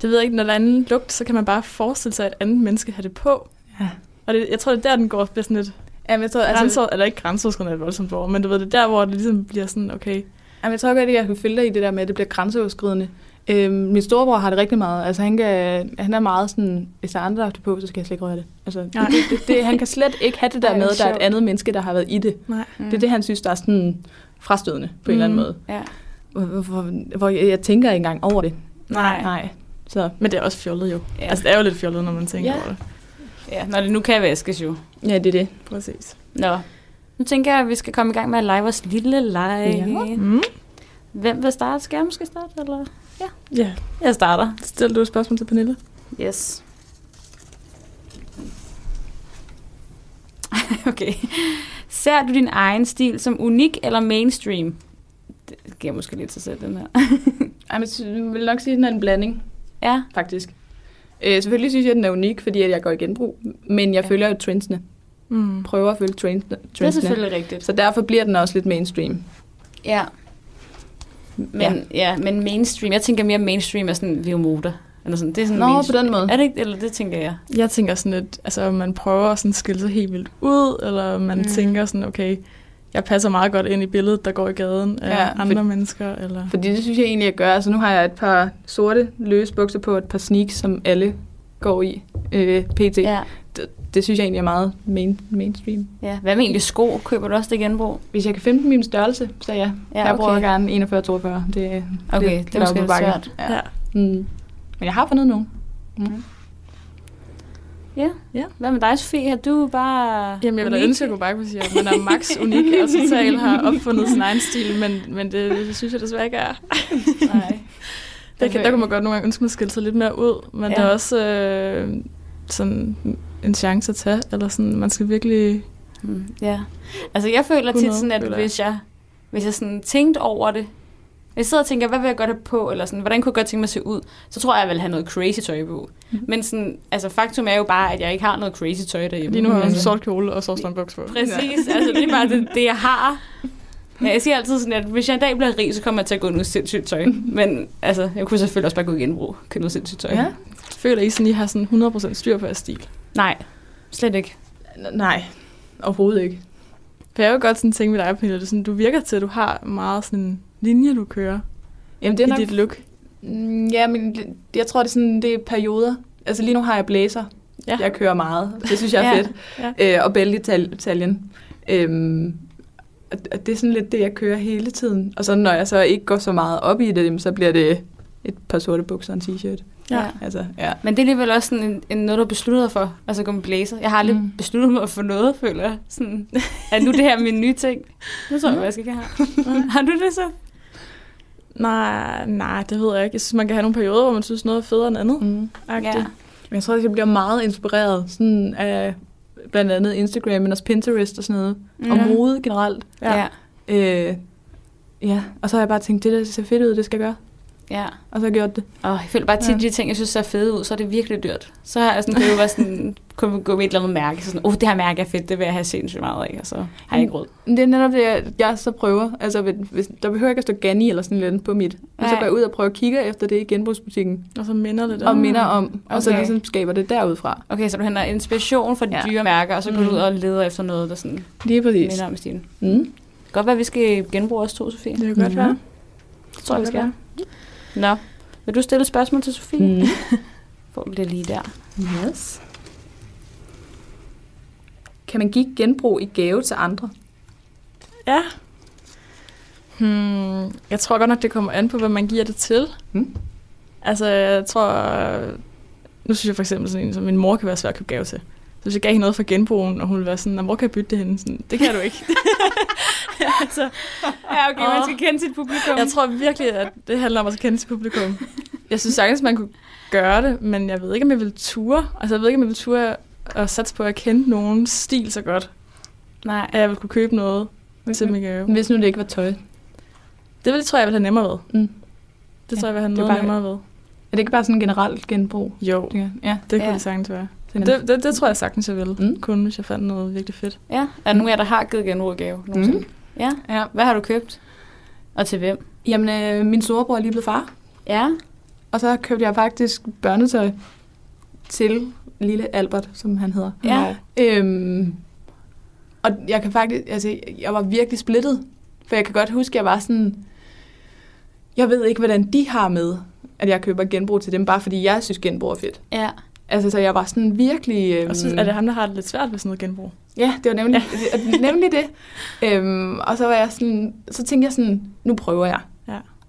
Speaker 2: Det ved jeg ikke, når der er anden lugt, så kan man bare forestille sig, at et andet menneske har det på.
Speaker 3: Ja.
Speaker 2: Og det, jeg tror, det er der, den går bliver sådan lidt
Speaker 3: Jamen, jeg tror,
Speaker 2: altså,
Speaker 3: altså,
Speaker 2: grænser, eller ikke grænseoverskridende er et voldsomt ord, men du ved, det er der, hvor det ligesom bliver sådan, okay,
Speaker 3: Jamen, jeg tror godt, at jeg kan følge dig i det der med, at det bliver grænseoverskridende. Øhm, min storebror har det rigtig meget. Altså, han, kan, han er meget sådan, hvis der er andre, der har haft det på, så skal jeg slet ikke røre det. Altså, det,
Speaker 2: Nej.
Speaker 3: det, det, det, han kan slet ikke have det der
Speaker 4: Ej,
Speaker 3: med,
Speaker 4: hvor
Speaker 3: at der er et
Speaker 4: sjovt.
Speaker 3: andet menneske, der har været i det.
Speaker 2: nej.
Speaker 3: Det er det, han synes, der er sådan frastødende på en eller anden
Speaker 2: Mm.
Speaker 3: måde.
Speaker 4: Ja.
Speaker 3: Hvor, hvor- hvor, hvor jeg, jeg tænker ikke engang over det.
Speaker 2: Nej.
Speaker 3: Nej. Så
Speaker 2: Men det er også fjollet jo.
Speaker 4: Ja.
Speaker 2: Ja. Altså, det er jo lidt fjollet, når man tænker
Speaker 3: Ja.
Speaker 2: ja. over det.
Speaker 4: ja, når det nu kan vaskes jo.
Speaker 3: ja, det er det.
Speaker 2: Præcis.
Speaker 4: Nå, nu tænker jeg, at vi skal komme i gang med at lege vores lille lege.
Speaker 3: Ja.
Speaker 2: Mm.
Speaker 4: Hvem vil starte? Skal jeg måske starte? Eller?
Speaker 2: Ja.
Speaker 4: Jeg starter.
Speaker 2: Stil du et spørgsmål til Pernille?
Speaker 4: Yes. *laughs* okay. Ser du din egen stil som unik eller mainstream? Det giver måske lidt sig selv, den her.
Speaker 3: Ej, men jeg vil nok sige, at den er en blanding,
Speaker 4: ja,
Speaker 3: faktisk. Øh, selvfølgelig synes jeg, at den er unik, fordi at jeg går i genbrug. Men jeg
Speaker 4: Ja.
Speaker 3: ja. følger jo trendsene.
Speaker 2: Mm.
Speaker 3: Prøver at følge trendsene.
Speaker 4: det er
Speaker 3: trendsene.
Speaker 4: selvfølgelig rigtigt.
Speaker 3: Så derfor bliver den også lidt mainstream.
Speaker 4: Ja. Men, ja. ja, men mainstream, jeg tænker mere mainstream er sådan Vio Moda. Eller sådan. Det er sådan
Speaker 3: Nå,
Speaker 4: mainstream.
Speaker 3: på den måde.
Speaker 4: Er det ikke, eller det tænker jeg.
Speaker 2: Jeg tænker sådan lidt, altså om man prøver at sådan skille sig helt vildt ud, eller om man
Speaker 4: Mm.
Speaker 2: mm. tænker sådan, okay, jeg passer meget godt ind i billedet, der går i gaden af
Speaker 3: Ja,
Speaker 2: ja,
Speaker 3: for-
Speaker 2: andre mennesker. Eller...
Speaker 3: Fordi det synes jeg egentlig, jeg gør. Altså nu har jeg et par sorte løse bukser på, og et par sneaks, som alle går i øh, pt. Ja.
Speaker 4: Ja.
Speaker 3: Det, det synes jeg egentlig er meget main, mainstream.
Speaker 4: ja. Hvad med egentlig sko? Køber du også det i genbrug?
Speaker 3: Hvis jeg kan finde min størrelse, så ja.
Speaker 4: Ja,
Speaker 3: ja Jeg
Speaker 4: okay.
Speaker 3: bruger gerne 41-42. Det, er
Speaker 4: Okay,
Speaker 3: lidt
Speaker 4: det er måske
Speaker 3: op ad
Speaker 4: lidt
Speaker 3: bakke.
Speaker 4: svært.
Speaker 3: Ja.
Speaker 2: Ja.
Speaker 3: Mm. Men jeg har fundet nogen. Mm.
Speaker 4: Ja.
Speaker 2: Ja.
Speaker 4: Hvad med dig, Sofie? Har du bare...
Speaker 2: Jamen, jeg vil da
Speaker 4: unik?
Speaker 2: ønske, at jeg kunne bare kunne sige, at man er max unik og total har opfundet sin egen stil, men, men det, det synes jeg desværre ikke er.
Speaker 3: Nej.
Speaker 2: Det kan, der kunne man godt nogle gange ønske, man skilte sig lidt mere ud, men
Speaker 4: Ja.
Speaker 2: ja. der er også øh, sådan en chance at tage, eller sådan, man skal virkelig...
Speaker 4: Mm, Ja. Altså, jeg føler
Speaker 2: Kunne
Speaker 4: tit
Speaker 2: noget,
Speaker 4: sådan, at
Speaker 2: føler jeg.
Speaker 4: hvis jeg, hvis jeg sådan tænkte over det, hvis jeg sidder og tænker, hvad vil jeg godt have på, eller sådan, hvordan kunne jeg godt tænke mig at se ud, så tror jeg, jeg vil have noget crazy tøj på.
Speaker 3: Mhm.
Speaker 4: Men sådan, altså, faktum er jo bare, at jeg ikke har noget crazy tøj derhjemme.
Speaker 2: Lige nu har jeg en
Speaker 4: altså,
Speaker 2: sort kjole og så en buks på.
Speaker 4: Præcis, altså det er bare det, det, jeg har. Ja, jeg siger altid sådan, at hvis jeg en dag bliver rig, så kommer jeg til at gå i noget sindssygt tøj. Men altså, jeg kunne selvfølgelig også bare gå i genbrug, købe noget sindssygt tøj.
Speaker 3: Ja.
Speaker 2: Føler I sådan, I har sådan 100% styr på jeres stil?
Speaker 4: Nej, slet ikke.
Speaker 3: N- nej, overhovedet ikke.
Speaker 2: For jeg vil godt sådan tænke med dig, Pernille, det er sådan, du virker til, at du har meget sådan en linje, du kører
Speaker 3: Jamen,
Speaker 2: det
Speaker 3: det
Speaker 2: i
Speaker 3: er nok...
Speaker 2: dit look.
Speaker 3: Mm, Ja, men det- jeg tror, det er, sådan, det er perioder. Altså lige nu har jeg blæser.
Speaker 2: Ja.
Speaker 3: Jeg kører meget. Det synes jeg er
Speaker 4: Ja.
Speaker 3: fedt. øh, og bælgetaljen. Øhm, og- og det er sådan lidt det, jeg kører hele tiden. Og så når jeg så ikke går så meget op i det, jamen, så bliver det et par sorte bukser og en t-shirt.
Speaker 2: Ja.
Speaker 3: Altså, ja.
Speaker 4: Men det er alligevel også sådan en, en noget, du beslutter dig for, altså at gå med blazer. Jeg har aldrig mm.
Speaker 3: Mm.
Speaker 4: besluttet mig for noget, føler jeg. Sådan, er nu det her min nye ting? Nu tror jeg, hvad jeg skal have. har du det så?
Speaker 2: Nej, nej, det ved jeg ikke. Jeg synes, man kan have nogle perioder, hvor man synes, noget er federe end andet.
Speaker 3: Mm.
Speaker 2: Ja.
Speaker 3: Men jeg tror, at jeg bliver meget inspireret sådan af blandt andet Instagram, men også Pinterest og sådan noget. Mm. Og mode generelt.
Speaker 4: Ja. ja.
Speaker 3: Øh, ja, og så har jeg bare tænkt, det der ser fedt ud, det skal jeg gøre.
Speaker 4: ja.
Speaker 3: Og så har jeg gjort det.
Speaker 4: Og jeg føler bare tit,
Speaker 3: Ja.
Speaker 4: de ting, jeg synes ser fede ud, så er det virkelig dyrt. Så har jeg sådan, kan jeg jo bare sådan, kunne gå med et eller andet mærke. Så sådan, oh, det her mærke er fedt, det vil jeg have sindssygt meget af, og så har jeg ikke råd.
Speaker 3: Men det er netop det, jeg, jeg så prøver. Altså, hvis- hvis, der behøver ikke at stå Ganni eller sådan noget på mit. Men så
Speaker 4: Nej.
Speaker 3: går jeg ud og prøver at kigge efter det i genbrugsbutikken.
Speaker 2: Og så minder det
Speaker 4: Ja.
Speaker 2: der.
Speaker 3: og minder om, og så
Speaker 4: Okay.
Speaker 3: ligesom skaber det derudfra.
Speaker 4: Okay, så du henter inspiration fra de ja.
Speaker 3: Ja.
Speaker 4: dyre mærker, og så går du
Speaker 3: Mm.
Speaker 4: ud og leder efter noget, der sådan
Speaker 3: Lige præcis.
Speaker 4: minder om stilen.
Speaker 3: Mm.
Speaker 4: Godt være, vi skal genbruge os to, Sofie.
Speaker 2: Det kan godt
Speaker 3: Ja.
Speaker 2: være.
Speaker 4: Det tror jeg, vi skal. Nå, vil du stille et spørgsmål til Sofie?
Speaker 3: Mm.
Speaker 4: Får du det lige *laughs* der.
Speaker 3: Yes. Kan man give genbrug i gave til andre?
Speaker 2: Ja. Hmm, jeg tror godt nok, det kommer an på, hvad man giver det til.
Speaker 3: Hmm.
Speaker 2: Altså, jeg tror... Nu synes jeg for eksempel sådan en, som min mor kan være svær at købe gave til. Så hvis jeg gav hende noget fra genbrugen, og hun ville være sådan, "Nå, hvor kan jeg bytte det henne? Sådan, det kan du
Speaker 3: *laughs*
Speaker 2: ikke. altså,
Speaker 4: Ja, okay, man
Speaker 2: Åh.
Speaker 4: skal kende sit publikum.
Speaker 2: jeg tror virkelig, at det handler om at kende sit publikum. Jeg synes sagtens, man kunne gøre det, men jeg ved ikke, om jeg ville ture. Altså, jeg ved ikke, om jeg ville ture at satse på at kende nogens stil så godt,
Speaker 4: Nej.
Speaker 2: at jeg ville kunne købe noget til min gave.
Speaker 3: Hvis nu det ikke var tøj.
Speaker 2: Det vil, tror jeg, jeg vil have nemmere ved.
Speaker 3: Mm.
Speaker 2: Det tror jeg, jeg vil have
Speaker 3: det er
Speaker 2: noget
Speaker 3: bare-
Speaker 2: nemmere ved.
Speaker 3: Er det ikke bare sådan generelt genbrug?
Speaker 2: Jo,
Speaker 3: Det kan- Ja.
Speaker 2: det kunne
Speaker 4: Ja.
Speaker 2: det sagtens være.
Speaker 3: Sådan.
Speaker 2: Det, det, det tror jeg sagtens, jeg ville.
Speaker 3: Mm.
Speaker 2: Mm. Kun hvis jeg fandt noget virkelig fedt.
Speaker 4: Ja, er der nogen af jer, der har givet genbrug gave nogensinde? Mm. Ja.
Speaker 3: Ja.
Speaker 4: Hvad har du købt? Og til hvem?
Speaker 3: Jamen, øh, min storebror er lige blevet far.
Speaker 4: Ja.
Speaker 3: Og så købte jeg faktisk børnetøj til lille Albert, som han hedder.
Speaker 4: Ja.
Speaker 3: Øhm, og jeg kan faktisk, altså, jeg var virkelig splittet. For jeg kan godt huske, jeg var sådan, jeg ved ikke, hvordan de har med, at jeg køber genbrug til dem, bare fordi jeg synes, genbrug er fedt.
Speaker 4: Ja.
Speaker 3: Altså, så jeg var sådan virkelig... Øhm,
Speaker 2: Og så er det ham, der har det lidt svært ved sådan noget genbrug.
Speaker 3: Ja, det var nemlig, ja. nemlig det. Øhm, og så var jeg sådan, så tænkte jeg sådan, nu prøver jeg.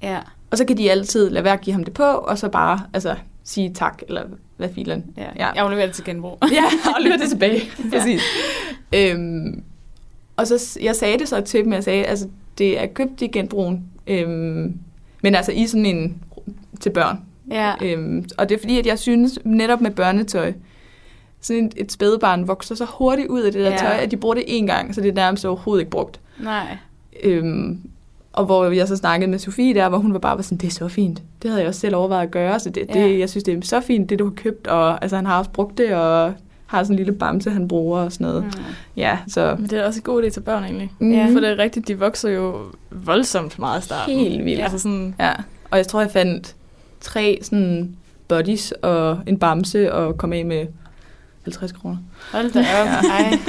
Speaker 4: Ja.
Speaker 3: Og så kan de altid lade være at give ham det på, og så bare altså, sige tak, eller hvad filen.
Speaker 4: ja.
Speaker 3: Ja.
Speaker 4: ja. Jeg leverer det til genbrug.
Speaker 3: Ja, og løbe det *laughs* tilbage. Præcis. Øhm, og så s- jeg sagde det så til dem, jeg sagde, altså det er købt i genbrugen, øhm, men altså i sådan en til børn.
Speaker 4: *laughs* Ja.
Speaker 3: Øhm, og det er fordi, at jeg synes netop med børnetøj, sådan et- et spædebarn vokser så hurtigt ud af det der
Speaker 4: Ja.
Speaker 3: tøj, at de bruger det én gang, så det er nærmest overhovedet ikke brugt.
Speaker 4: Nej.
Speaker 3: Øhm, og hvor jeg så snakkede med Sofie der, hvor hun var bare var sådan, det er så fint. Det havde jeg også selv overvejet at gøre, så det, ja.
Speaker 4: Ja.
Speaker 3: det, jeg synes, det er så fint, det du har købt. Og altså, han har også brugt det, og har sådan en lille bamse, han bruger og sådan noget. Mm. Ja, så mm-hmm.
Speaker 2: Men det er også en god idé til børn egentlig.
Speaker 3: Ja.
Speaker 4: Mm.
Speaker 2: For det er rigtigt, de vokser jo voldsomt meget i starten.
Speaker 3: helt vildt.
Speaker 2: Ja.
Speaker 3: Ja.
Speaker 2: Altså sådan,
Speaker 3: ja. Og jeg tror, jeg fandt tre sådan buddies og en bamse og kom af med 50 kroner.
Speaker 4: Hold da op. Ej. *laughs*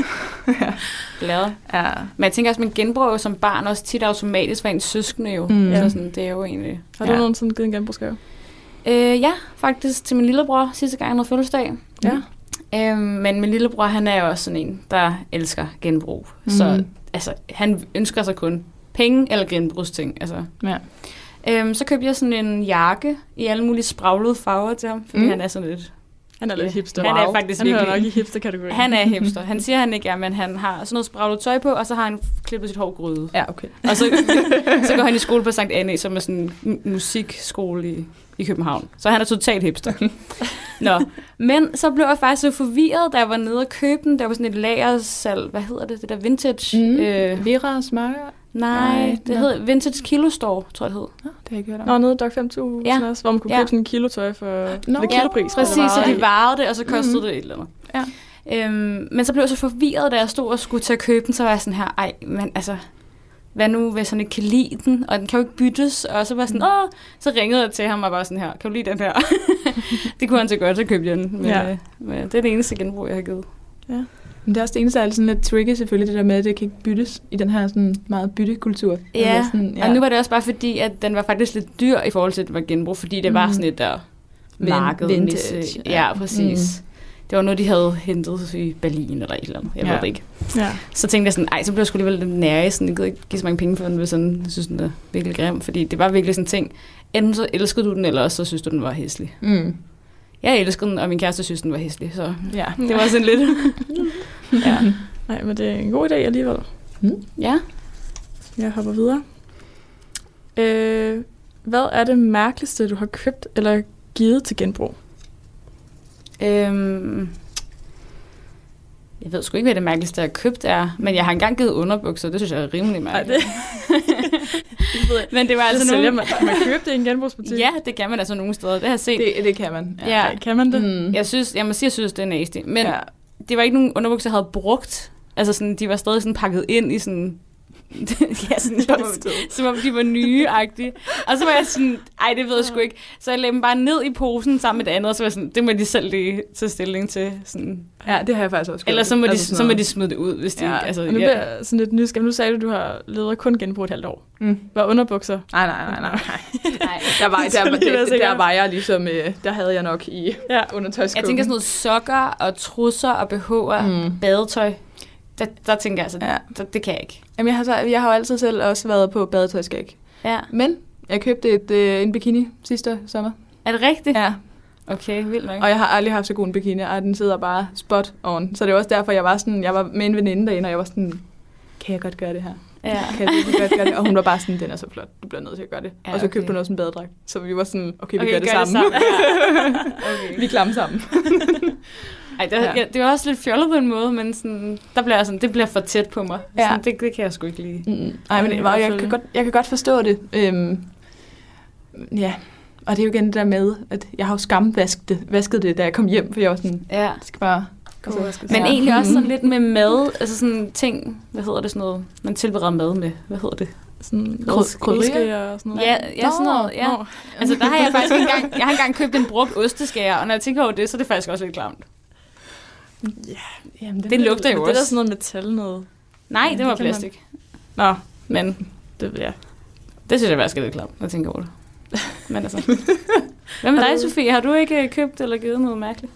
Speaker 4: Glad.
Speaker 3: Ja.
Speaker 4: Men jeg tænker også, man genbruger jo som barn også tit automatisk for ens søskende jo.
Speaker 3: Mm.
Speaker 4: Så sådan, det er jo egentlig...
Speaker 2: har du
Speaker 3: Ja.
Speaker 2: nogensinde givet en genbrugsgave?
Speaker 4: Øh, ja, faktisk til min lillebror sidste gang, han havde fødselsdag.
Speaker 2: Ja.
Speaker 4: Øh, men min lillebror, han er jo også sådan en, der elsker genbrug. Mm. Så altså, han ønsker sig kun penge eller genbrugsting. Altså.
Speaker 3: Ja.
Speaker 4: Øhm, så købte jeg sådan en jakke i alle mulige spraglede farver til ham, fordi
Speaker 3: Mm.
Speaker 4: mm. han er sådan lidt...
Speaker 2: Han er lidt
Speaker 4: Ja.
Speaker 2: hipster.
Speaker 4: Han er faktisk
Speaker 2: han hører
Speaker 4: virkelig-
Speaker 2: nok i hipster-kategorien.
Speaker 4: Han er hipster. Han siger, han ikke er, men han har sådan noget spraglet tøj på, og så har han klippet sit hår gryde.
Speaker 3: ja, okay.
Speaker 4: Og så, så går han i skole på Sankt Anne, som er sådan en mu- musikskole i, i København. Så han er totalt hipster. Nå, men så blev jeg faktisk så forvirret, da jeg var nede og købe den. Der var sådan et lagersalg. Hvad hedder det? Det der vintage?
Speaker 3: Mm.
Speaker 4: Øh,
Speaker 3: Vera og Smørger?
Speaker 4: nej,
Speaker 3: Nej,
Speaker 4: det
Speaker 3: nå.
Speaker 4: hed Vintage Kilo Store, tror jeg det hed.
Speaker 3: Nå, det har jeg ikke hørt om.
Speaker 2: Nå, nede i Dok 5000
Speaker 4: Ja.
Speaker 2: ja. også, hvor man kunne
Speaker 4: Ja.
Speaker 2: købe sådan en kilo tøj for
Speaker 3: Nå.
Speaker 2: lidt kilopris.
Speaker 4: Ja, præcis, så
Speaker 2: Eller
Speaker 4: de
Speaker 2: meget.
Speaker 4: varede det, og så kostede mm. det et eller andet.
Speaker 3: Ja.
Speaker 4: Øhm, men så blev jeg så forvirret, da jeg stod og skulle til at købe den, så var jeg sådan her, ej, men altså, hvad nu, hvis han ikke kan lide den, og den kan jo ikke byttes, og så var jeg sådan, åh, så ringede jeg til ham og var sådan her, kan du lide den her? *laughs* det kunne han så godt, så købte jeg den. Men,
Speaker 2: Ja.
Speaker 4: ja. men det er det eneste genbrug, jeg har givet.
Speaker 3: Men det er også det eneste, der er sådan lidt tricky selvfølgelig, det der med, at det kan ikke byttes i den her sådan meget byttekultur.
Speaker 4: Ja,
Speaker 3: Altså sådan,
Speaker 4: ja. og nu var det også bare fordi, at den var faktisk lidt dyr i forhold til, at den var genbrug, fordi det var
Speaker 3: Mm.
Speaker 4: sådan et der
Speaker 3: Vin-
Speaker 4: markedmæssigt.
Speaker 3: vintage,
Speaker 4: Ja.
Speaker 3: ja.
Speaker 4: ja, præcis. Mm. Det var noget, de havde hentet i Berlin eller et eller andet. Jeg ja.
Speaker 3: Ja.
Speaker 4: ved det ikke.
Speaker 2: Ja.
Speaker 4: Så tænkte jeg sådan, ej, så blev jeg sgu alligevel lidt nære i sådan, jeg gider ikke give så mange penge for den, hvis sådan, jeg synes, den er virkelig grim. Fordi det var virkelig sådan en ting, enten så elskede du den, eller også så synes du, den var hæslig.
Speaker 3: Mm.
Speaker 4: Jeg elskede den, og min kæreste synes, den var hæslig, så
Speaker 3: Ja.
Speaker 4: det var
Speaker 2: *laughs*
Speaker 4: sådan lidt...
Speaker 3: *laughs*
Speaker 4: ja.
Speaker 2: Nej, men det er en god idé alligevel.
Speaker 3: Mm.
Speaker 4: ja.
Speaker 2: Jeg hopper videre. Øh, hvad er det mærkeligste, du har købt eller givet til genbrug?
Speaker 4: Øhm, jeg ved sgu ikke, hvad det mærkeligste, jeg har købt er, men jeg har engang givet underbukser, det synes jeg er rimelig
Speaker 2: Nej,
Speaker 4: mærkeligt.
Speaker 2: det,
Speaker 4: Men det var
Speaker 2: altså
Speaker 4: altså
Speaker 2: det sælger
Speaker 4: nogle...
Speaker 2: man. Kan man købe *laughs* det i en genbrugsbutik?
Speaker 4: Ja, det kan man altså nogle steder, det har jeg set. Det,
Speaker 3: Det, det kan man.
Speaker 4: ja. ja.
Speaker 2: Ej, Kan man det? *laughs*
Speaker 3: Mm.
Speaker 4: Jeg, synes, jeg må sige, jeg synes, det er nasty. Men ja.
Speaker 3: ja.
Speaker 4: det var ikke nogen underbukser, jeg havde brugt. Altså sådan, de var stadig sådan pakket ind i
Speaker 3: *laughs*
Speaker 4: sådan... ja, sådan, som, om- *laughs* som om de var nye -agtige. Og så var jeg sådan, ej, det ved jeg sgu ikke. Så jeg lagde dem bare ned i posen sammen med det andet, og så var jeg sådan, det må de selv lige tage stilling til. Sådan.
Speaker 3: ja, det har jeg faktisk også gjort.
Speaker 4: Ellers så må, de,
Speaker 3: Altså sådan
Speaker 4: så må
Speaker 3: noget.
Speaker 4: de smide det ud, hvis de
Speaker 3: Ja.
Speaker 4: ikke... Altså,
Speaker 2: Og nu
Speaker 4: ja.
Speaker 2: bliver jeg sådan lidt nysgerrig. Nu sagde du, at du har levet kun genbrug et halvt år.
Speaker 3: Mm.
Speaker 2: Var underbukser.
Speaker 3: Nej, nej, nej, nej.
Speaker 4: Nej.
Speaker 3: *laughs* Der var,
Speaker 2: Så
Speaker 3: der,
Speaker 2: lige være
Speaker 3: der,
Speaker 2: sikker.
Speaker 3: der var jeg ligesom, øh, der havde jeg nok i *laughs*
Speaker 2: Ja.
Speaker 3: undertøjskuffen.
Speaker 4: Jeg tænker sådan noget sokker og trusser og BH'er, mm.
Speaker 3: Mm.
Speaker 4: badetøj. Der, der tænker jeg altså, ja.
Speaker 3: Ja.
Speaker 4: der, det kan jeg ikke.
Speaker 3: Jamen, jeg har, så, jeg har jo altid selv også været på badetøjskæg.
Speaker 4: Ja.
Speaker 3: Men jeg købte et, øh, en bikini sidste sommer.
Speaker 4: Er det rigtigt?
Speaker 3: Ja,
Speaker 4: Okay, vildt nok.
Speaker 3: og jeg har aldrig haft så god en bikini, og den sidder bare spot on. Så det er også derfor, jeg var sådan, jeg var med en veninde derinde, og jeg var sådan, kan jeg godt gøre det her?
Speaker 4: Ja.
Speaker 3: kan jeg virkelig godt gøre det? Og hun var bare sådan, den er så flot, du bliver nødt til at gøre det.
Speaker 4: Ja,
Speaker 3: Ja, og så
Speaker 4: okay.
Speaker 3: købte hun også en badedragt. Så vi var sådan,
Speaker 4: Okay,
Speaker 3: okay, vi okay, gør det
Speaker 4: gør det
Speaker 3: sammen.
Speaker 4: sammen.
Speaker 3: okay. *laughs* Vi klammer sammen.
Speaker 4: Ej, det, ja.
Speaker 3: Ja.
Speaker 4: Ja, det var også lidt fjollet på en måde, men sådan, der bliver jeg sådan, det bliver for tæt på mig. Ja.
Speaker 3: Ja.
Speaker 4: Sådan, det, det kan jeg sgu ikke lide.
Speaker 3: Nej, men
Speaker 2: Ja,
Speaker 3: jeg, jeg,
Speaker 2: selvfølgelig.
Speaker 3: kan godt, jeg kan godt forstå det. Øhm, ja, og det er jo igen det der med, at jeg har jo skamvasket det, vasket det, da jeg kom hjem, for jeg var sådan,
Speaker 4: Ja.
Speaker 3: det skal bare... Altså,
Speaker 2: Kunne jeg skal
Speaker 4: Men
Speaker 2: sige.
Speaker 3: Ja.
Speaker 4: egentlig også sådan
Speaker 3: Mhm.
Speaker 4: lidt med mad, altså sådan ting, hvad hedder det sådan noget, man tilbereder mad med, hvad hedder det?
Speaker 2: Sådan
Speaker 3: Kryd- krydderier?
Speaker 2: og sådan noget.
Speaker 4: Ja, ja, sådan noget, ja.
Speaker 2: Nå.
Speaker 4: Altså, der har jeg faktisk engang, jeg har engang købt en brugt osteskærer, og når jeg tænker over det, så er det faktisk også lidt klamt.
Speaker 3: Jamen,
Speaker 4: Det lugter
Speaker 2: Men
Speaker 4: jo
Speaker 2: det er da
Speaker 4: også.
Speaker 2: sådan noget metal noget.
Speaker 4: Nej,
Speaker 2: Ja,
Speaker 4: det var
Speaker 2: det kan man-
Speaker 4: plastik. Nå, men det, ja. det synes jeg faktisk er lidt klamt, når jeg tænker over det. *laughs* Men altså. Hvad med dig, Sofie? Har du ikke øh, købt eller givet noget mærkeligt?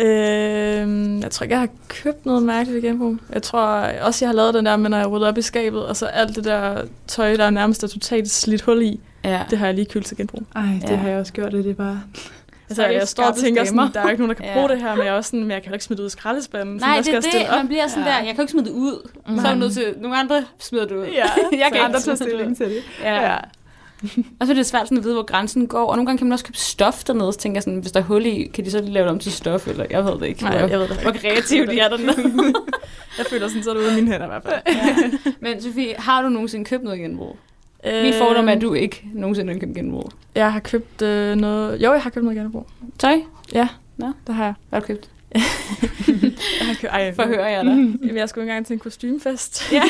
Speaker 2: Øhm, jeg tror ikke, jeg har købt noget mærkeligt i genbrug. Jeg tror også, jeg har lavet den der med, når jeg rydder op i skabet, og så alt det der tøj, der nærmest er totalt slidt hul i,
Speaker 4: Ja.
Speaker 2: det har jeg lige kølt til genbrug.
Speaker 3: Ej, det
Speaker 4: Ja.
Speaker 3: ja. har jeg også gjort, og det er bare...
Speaker 2: Altså, jeg står og tænker sådan, der er ikke nogen, der kan
Speaker 4: Ja.
Speaker 2: bruge det her, men jeg, er også sådan, men jeg kan heller ikke smide det ud i skraldespanden. sådan,
Speaker 4: Nej, det er
Speaker 2: der skal jeg
Speaker 4: det.
Speaker 2: stille op.
Speaker 4: Man bliver sådan
Speaker 3: Ja.
Speaker 4: der, jeg kan jo ikke smide det ud. Så er man nødt til, nogle andre smider det ud.
Speaker 2: Ja,
Speaker 4: *laughs* jeg
Speaker 2: så
Speaker 4: kan
Speaker 2: andre
Speaker 4: ikke smide det ud.
Speaker 3: til det.
Speaker 4: Ja. ja. og så er det svært sådan at vide, hvor grænsen går. Og nogle gange kan man også købe stof dernede, så tænker jeg sådan, hvis der er hul i, kan de så lave det om til stof, eller jeg ved det ikke.
Speaker 2: Nej,
Speaker 4: hvor,
Speaker 2: jeg ved det
Speaker 4: hvor
Speaker 2: ikke.
Speaker 4: kreative de er dernede.
Speaker 2: *laughs* Jeg føler sådan, så er det ude af mine hænder i hvert *laughs* fald.
Speaker 4: ja. Men Sofie, har du nogensinde købt noget genbrug?
Speaker 2: Øh,
Speaker 4: Min fordom er, at du ikke nogensinde har købt genbrug.
Speaker 2: Jeg har købt øh, noget... Jo, jeg har købt noget genbrug.
Speaker 4: Tøj?
Speaker 2: Det har jeg.
Speaker 4: Hvad har du købt?
Speaker 2: jeg har købt... Ej,
Speaker 4: Forhører jeg dig.
Speaker 2: *laughs* Jamen, jeg skulle engang til en kostymefest,
Speaker 4: ja.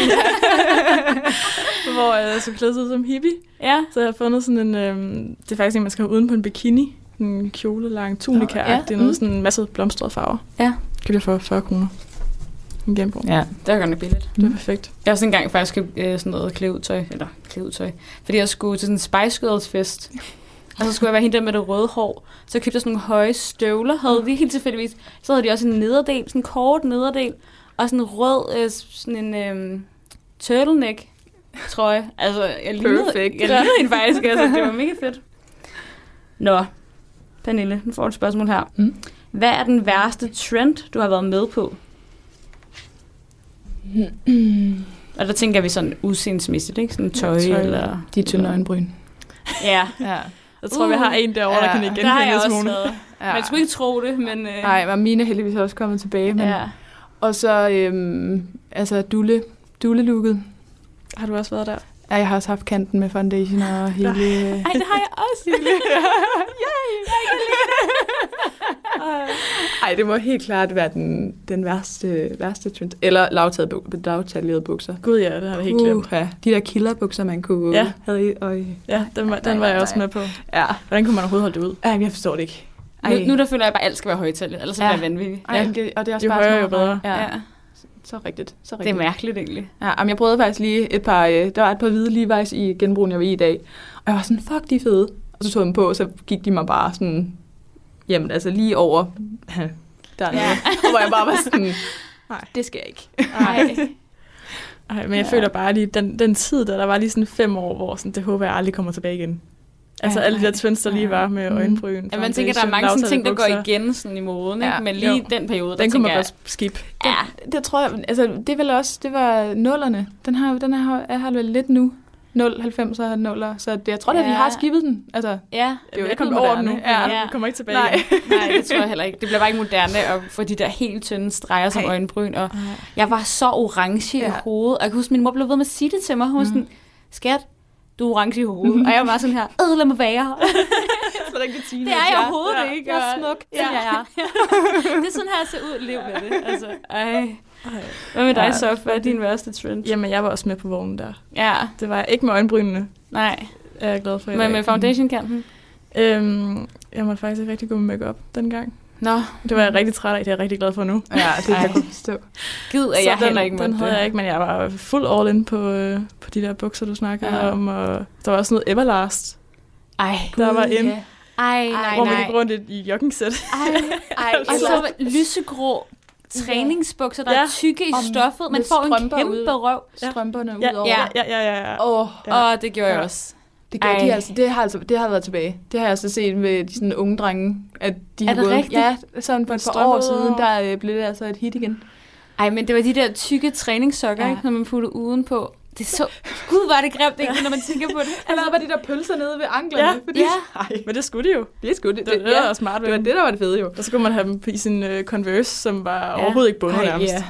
Speaker 2: *laughs*
Speaker 4: *laughs*
Speaker 2: hvor øh, jeg så klædt ud som hippie.
Speaker 4: ja.
Speaker 2: Så jeg har fundet sådan en... Øhm, det er faktisk en, man skal have uden på en bikini. En kjole, lang tunika
Speaker 4: Nå, ja,
Speaker 2: ja. Det er noget
Speaker 4: mm.
Speaker 2: sådan en masse blomstrede farver.
Speaker 4: Ja.
Speaker 2: Købte jeg for 40 kroner. En genbrug.
Speaker 4: Ja, det var godt nok billigt.
Speaker 2: Det er perfekt.
Speaker 4: Jeg har også engang faktisk købt øh, sådan noget klæudtøj, eller klæudtøj, fordi jeg skulle til sådan en Spice Girls fest. Og så skulle jeg være hende der med det røde hår. Så jeg købte jeg sådan nogle høje støvler, havde de helt tilfældigvis. Så havde de også en nederdel, sådan en kort nederdel, og sådan en rød, øh, sådan en øh, turtleneck trøje. Altså, jeg lignede, jeg
Speaker 3: Perfekt.
Speaker 4: lignede hende faktisk, altså, det var mega fedt. Nå, Pernille, nu får du et spørgsmål her.
Speaker 3: Mm.
Speaker 4: Hvad er den værste trend, du har været med på? Og der tænker vi sådan udseendsmæssigt, ikke? Sådan tøj,
Speaker 2: tøj.
Speaker 4: eller...
Speaker 3: *clears throat* De tynde øjenbryn.
Speaker 4: *laughs* Ja,
Speaker 3: Ja.
Speaker 2: Jeg tror, uh, vi har en derovre, ja, der
Speaker 3: ja.
Speaker 2: kan
Speaker 3: Der
Speaker 2: ikke
Speaker 4: det har
Speaker 2: genkende
Speaker 4: jeg
Speaker 2: en
Speaker 4: også
Speaker 2: smule.
Speaker 4: været.
Speaker 3: ja.
Speaker 4: Man skulle ikke tro det, men... Øh,
Speaker 3: Nej, men mine er heldigvis også kommet tilbage. Men...
Speaker 4: ja.
Speaker 3: Og så, øhm, altså, dulle, dulle-looket.
Speaker 2: Har du også været der?
Speaker 3: Ja, jeg har også haft kanten med foundation og hele...
Speaker 4: Ej, det har jeg også, Julie. *laughs* Yay, jeg kan lide det.
Speaker 3: Ej, det må helt klart være den, den værste, værste trend. Eller lavtaget bu- lavtaljerede bukser.
Speaker 2: *laughs* Gud ja, det har jeg helt glemt.
Speaker 3: Uha, de der killerbukser, man kunne
Speaker 2: Ja.
Speaker 3: ja. havde i øje.
Speaker 2: Ja, den var, den
Speaker 3: Nej,
Speaker 2: var jeg
Speaker 3: nej,
Speaker 2: også
Speaker 3: nej.
Speaker 2: med på.
Speaker 3: Ja.
Speaker 2: Hvordan kunne man overhovedet holde det ud?
Speaker 3: Ej, jeg forstår det ikke. Ej.
Speaker 4: nu, nu der føler jeg bare, at alt skal være højtallet, ellers så bliver
Speaker 3: Ja.
Speaker 4: jeg vanvittig.
Speaker 3: Ej,
Speaker 2: Ja.
Speaker 3: det, og det er også
Speaker 2: Jo
Speaker 3: bare
Speaker 2: højere,
Speaker 3: sådan
Speaker 2: jo bedre.
Speaker 3: noget- Ja. ja. Så rigtigt. Så
Speaker 4: Det
Speaker 3: rigtigt.
Speaker 4: er mærkeligt, egentlig.
Speaker 3: Ja, jamen, jeg prøvede faktisk lige et par, øh, der var et par hvide Levi's i genbrugen, jeg var i i dag. Og jeg var sådan, fuck, de er fede. Og så tog jeg dem på, og så gik de mig bare sådan, jamen altså lige over *laughs* dernede.
Speaker 4: Ja.
Speaker 3: Ja. *laughs* hvor jeg bare var sådan,
Speaker 2: Nej.
Speaker 3: nej, det skal jeg ikke.
Speaker 4: *laughs* Nej.
Speaker 2: Ej, men jeg
Speaker 3: Ja.
Speaker 2: føler bare lige, den, den tid, der, der var lige sådan fem år, hvor sådan, det håber jeg aldrig kommer tilbage igen. Altså
Speaker 3: Ej,
Speaker 2: alle de der
Speaker 3: nej.
Speaker 2: trends, der lige
Speaker 3: Ja.
Speaker 2: var med
Speaker 3: Mm.
Speaker 2: øjenbryn,
Speaker 4: Ja, man tænker, der er mange sådan ting, der går igen sådan i moden, ikke?
Speaker 3: Ja.
Speaker 4: men lige
Speaker 2: Jo.
Speaker 4: den periode, der
Speaker 2: Den kunne
Speaker 4: tænker
Speaker 2: man
Speaker 4: jeg,
Speaker 2: godt skip.
Speaker 4: ja,
Speaker 3: Det tror jeg, altså det er vel også, det var nullerne. Den har, den har, jeg har vel lidt nu. 0, 90'er, 0'er. Så det, jeg tror da,
Speaker 4: Ja.
Speaker 3: vi har skibet den. Altså,
Speaker 2: Det
Speaker 4: ja.
Speaker 2: er jo
Speaker 3: jo
Speaker 2: ikke
Speaker 3: ikke
Speaker 2: kommet over den nu.
Speaker 3: moderne.
Speaker 2: Ja.
Speaker 4: Ja.
Speaker 2: Jeg kommer ikke tilbage
Speaker 3: nej.
Speaker 2: igen.
Speaker 4: *laughs* Nej, det tror jeg heller ikke. Det bliver bare ikke moderne at få de der helt tynde streger som
Speaker 3: Nej.
Speaker 4: øjenbryn. Og jeg var så orange ja. Mm. i
Speaker 3: Ja.
Speaker 4: hovedet. Og jeg kan huske, min mor blev ved med at sige det til mig. Hun var sådan, skat, du er orange i hovedet. og jeg var sådan her, æd, lad mig *laughs* være.
Speaker 3: Så rigtig teenage.
Speaker 4: *laughs* det er jeg overhovedet ja. ikke.
Speaker 3: Jeg
Speaker 4: og-
Speaker 3: er smuk.
Speaker 4: Ja. Ja, ja. *laughs* det er sådan her, jeg ser ud. Lev med det. Altså, ej.
Speaker 2: Ej.
Speaker 4: Hvad med dig,
Speaker 2: Ja.
Speaker 4: Sof? Hvad er din værste trend?
Speaker 2: Jamen, jeg var også med på vognen der.
Speaker 4: Ja,
Speaker 2: Det var jeg ikke med øjenbrynene,
Speaker 4: nej.
Speaker 2: er jeg glad for i
Speaker 4: Men
Speaker 2: dag.
Speaker 4: med foundation-kanten?
Speaker 2: Øhm, jeg måtte faktisk ikke rigtig gå med make-up dengang.
Speaker 4: Nå,
Speaker 2: Det var jeg rigtig træt af, det er jeg rigtig glad for nu.
Speaker 3: Ja, det kan
Speaker 4: Ej.
Speaker 3: jeg godt forstå.
Speaker 4: gid, at jeg
Speaker 2: så den,
Speaker 4: heller ikke
Speaker 2: den
Speaker 4: måtte
Speaker 2: havde
Speaker 4: det.
Speaker 2: jeg ikke, men jeg var fuld all in på, øh, på de der bukser, du snakkede
Speaker 4: Ja.
Speaker 2: ja. om. Og der var også noget Everlast,
Speaker 4: Ej,
Speaker 2: der var
Speaker 3: Gud,
Speaker 2: en,
Speaker 3: ja.
Speaker 4: ej,
Speaker 2: Ej,
Speaker 4: nej,
Speaker 2: hvor man
Speaker 4: nej.
Speaker 2: gik rundt i- i jogging-sæt.
Speaker 4: Ej, ej. Og så var lysegrå træningsbukser, der
Speaker 2: Ja.
Speaker 4: er tykke i
Speaker 3: Og
Speaker 4: stoffet. Man
Speaker 3: med
Speaker 4: får en
Speaker 3: strømper
Speaker 4: kæmpe røv.
Speaker 2: Ja.
Speaker 3: Strømperne ud
Speaker 2: Ja,
Speaker 3: over.
Speaker 2: ja, ja, ja, ja. ja.
Speaker 3: Åh,
Speaker 2: Ja.
Speaker 4: Og det gjorde jeg
Speaker 2: Ja.
Speaker 4: også.
Speaker 3: Det, gør, de
Speaker 4: Ej.
Speaker 3: altså, det, har altså, det har været tilbage. Det har jeg altså set med de sådan unge drenge. At de
Speaker 4: Er
Speaker 3: har
Speaker 4: det
Speaker 3: gået,
Speaker 4: rigtigt?
Speaker 3: Ja, sådan for et par
Speaker 2: Strømper
Speaker 3: år
Speaker 2: ud
Speaker 3: siden,
Speaker 2: over.
Speaker 3: der øh, blev det altså et hit igen.
Speaker 4: Ej, men det var de der tykke træningssokker, ja.
Speaker 3: Ja.
Speaker 4: ikke, når man puttede uden på. Det er så... Gud, var det grimt, ikke, når man tænker på det.
Speaker 3: Eller var de der pølser nede ved anklerne?
Speaker 2: Ja,
Speaker 3: fordi,
Speaker 4: ja.
Speaker 3: Ej,
Speaker 2: Men det skulle de jo.
Speaker 3: det er sgu det.
Speaker 2: Det, det, det
Speaker 3: ja,
Speaker 2: var smart ved
Speaker 3: det var
Speaker 2: dem.
Speaker 3: det, der var det fede jo.
Speaker 2: Og så kunne man have dem på i sin uh, Converse, som var ja. overhovedet ikke bundet nærmest.
Speaker 3: ja.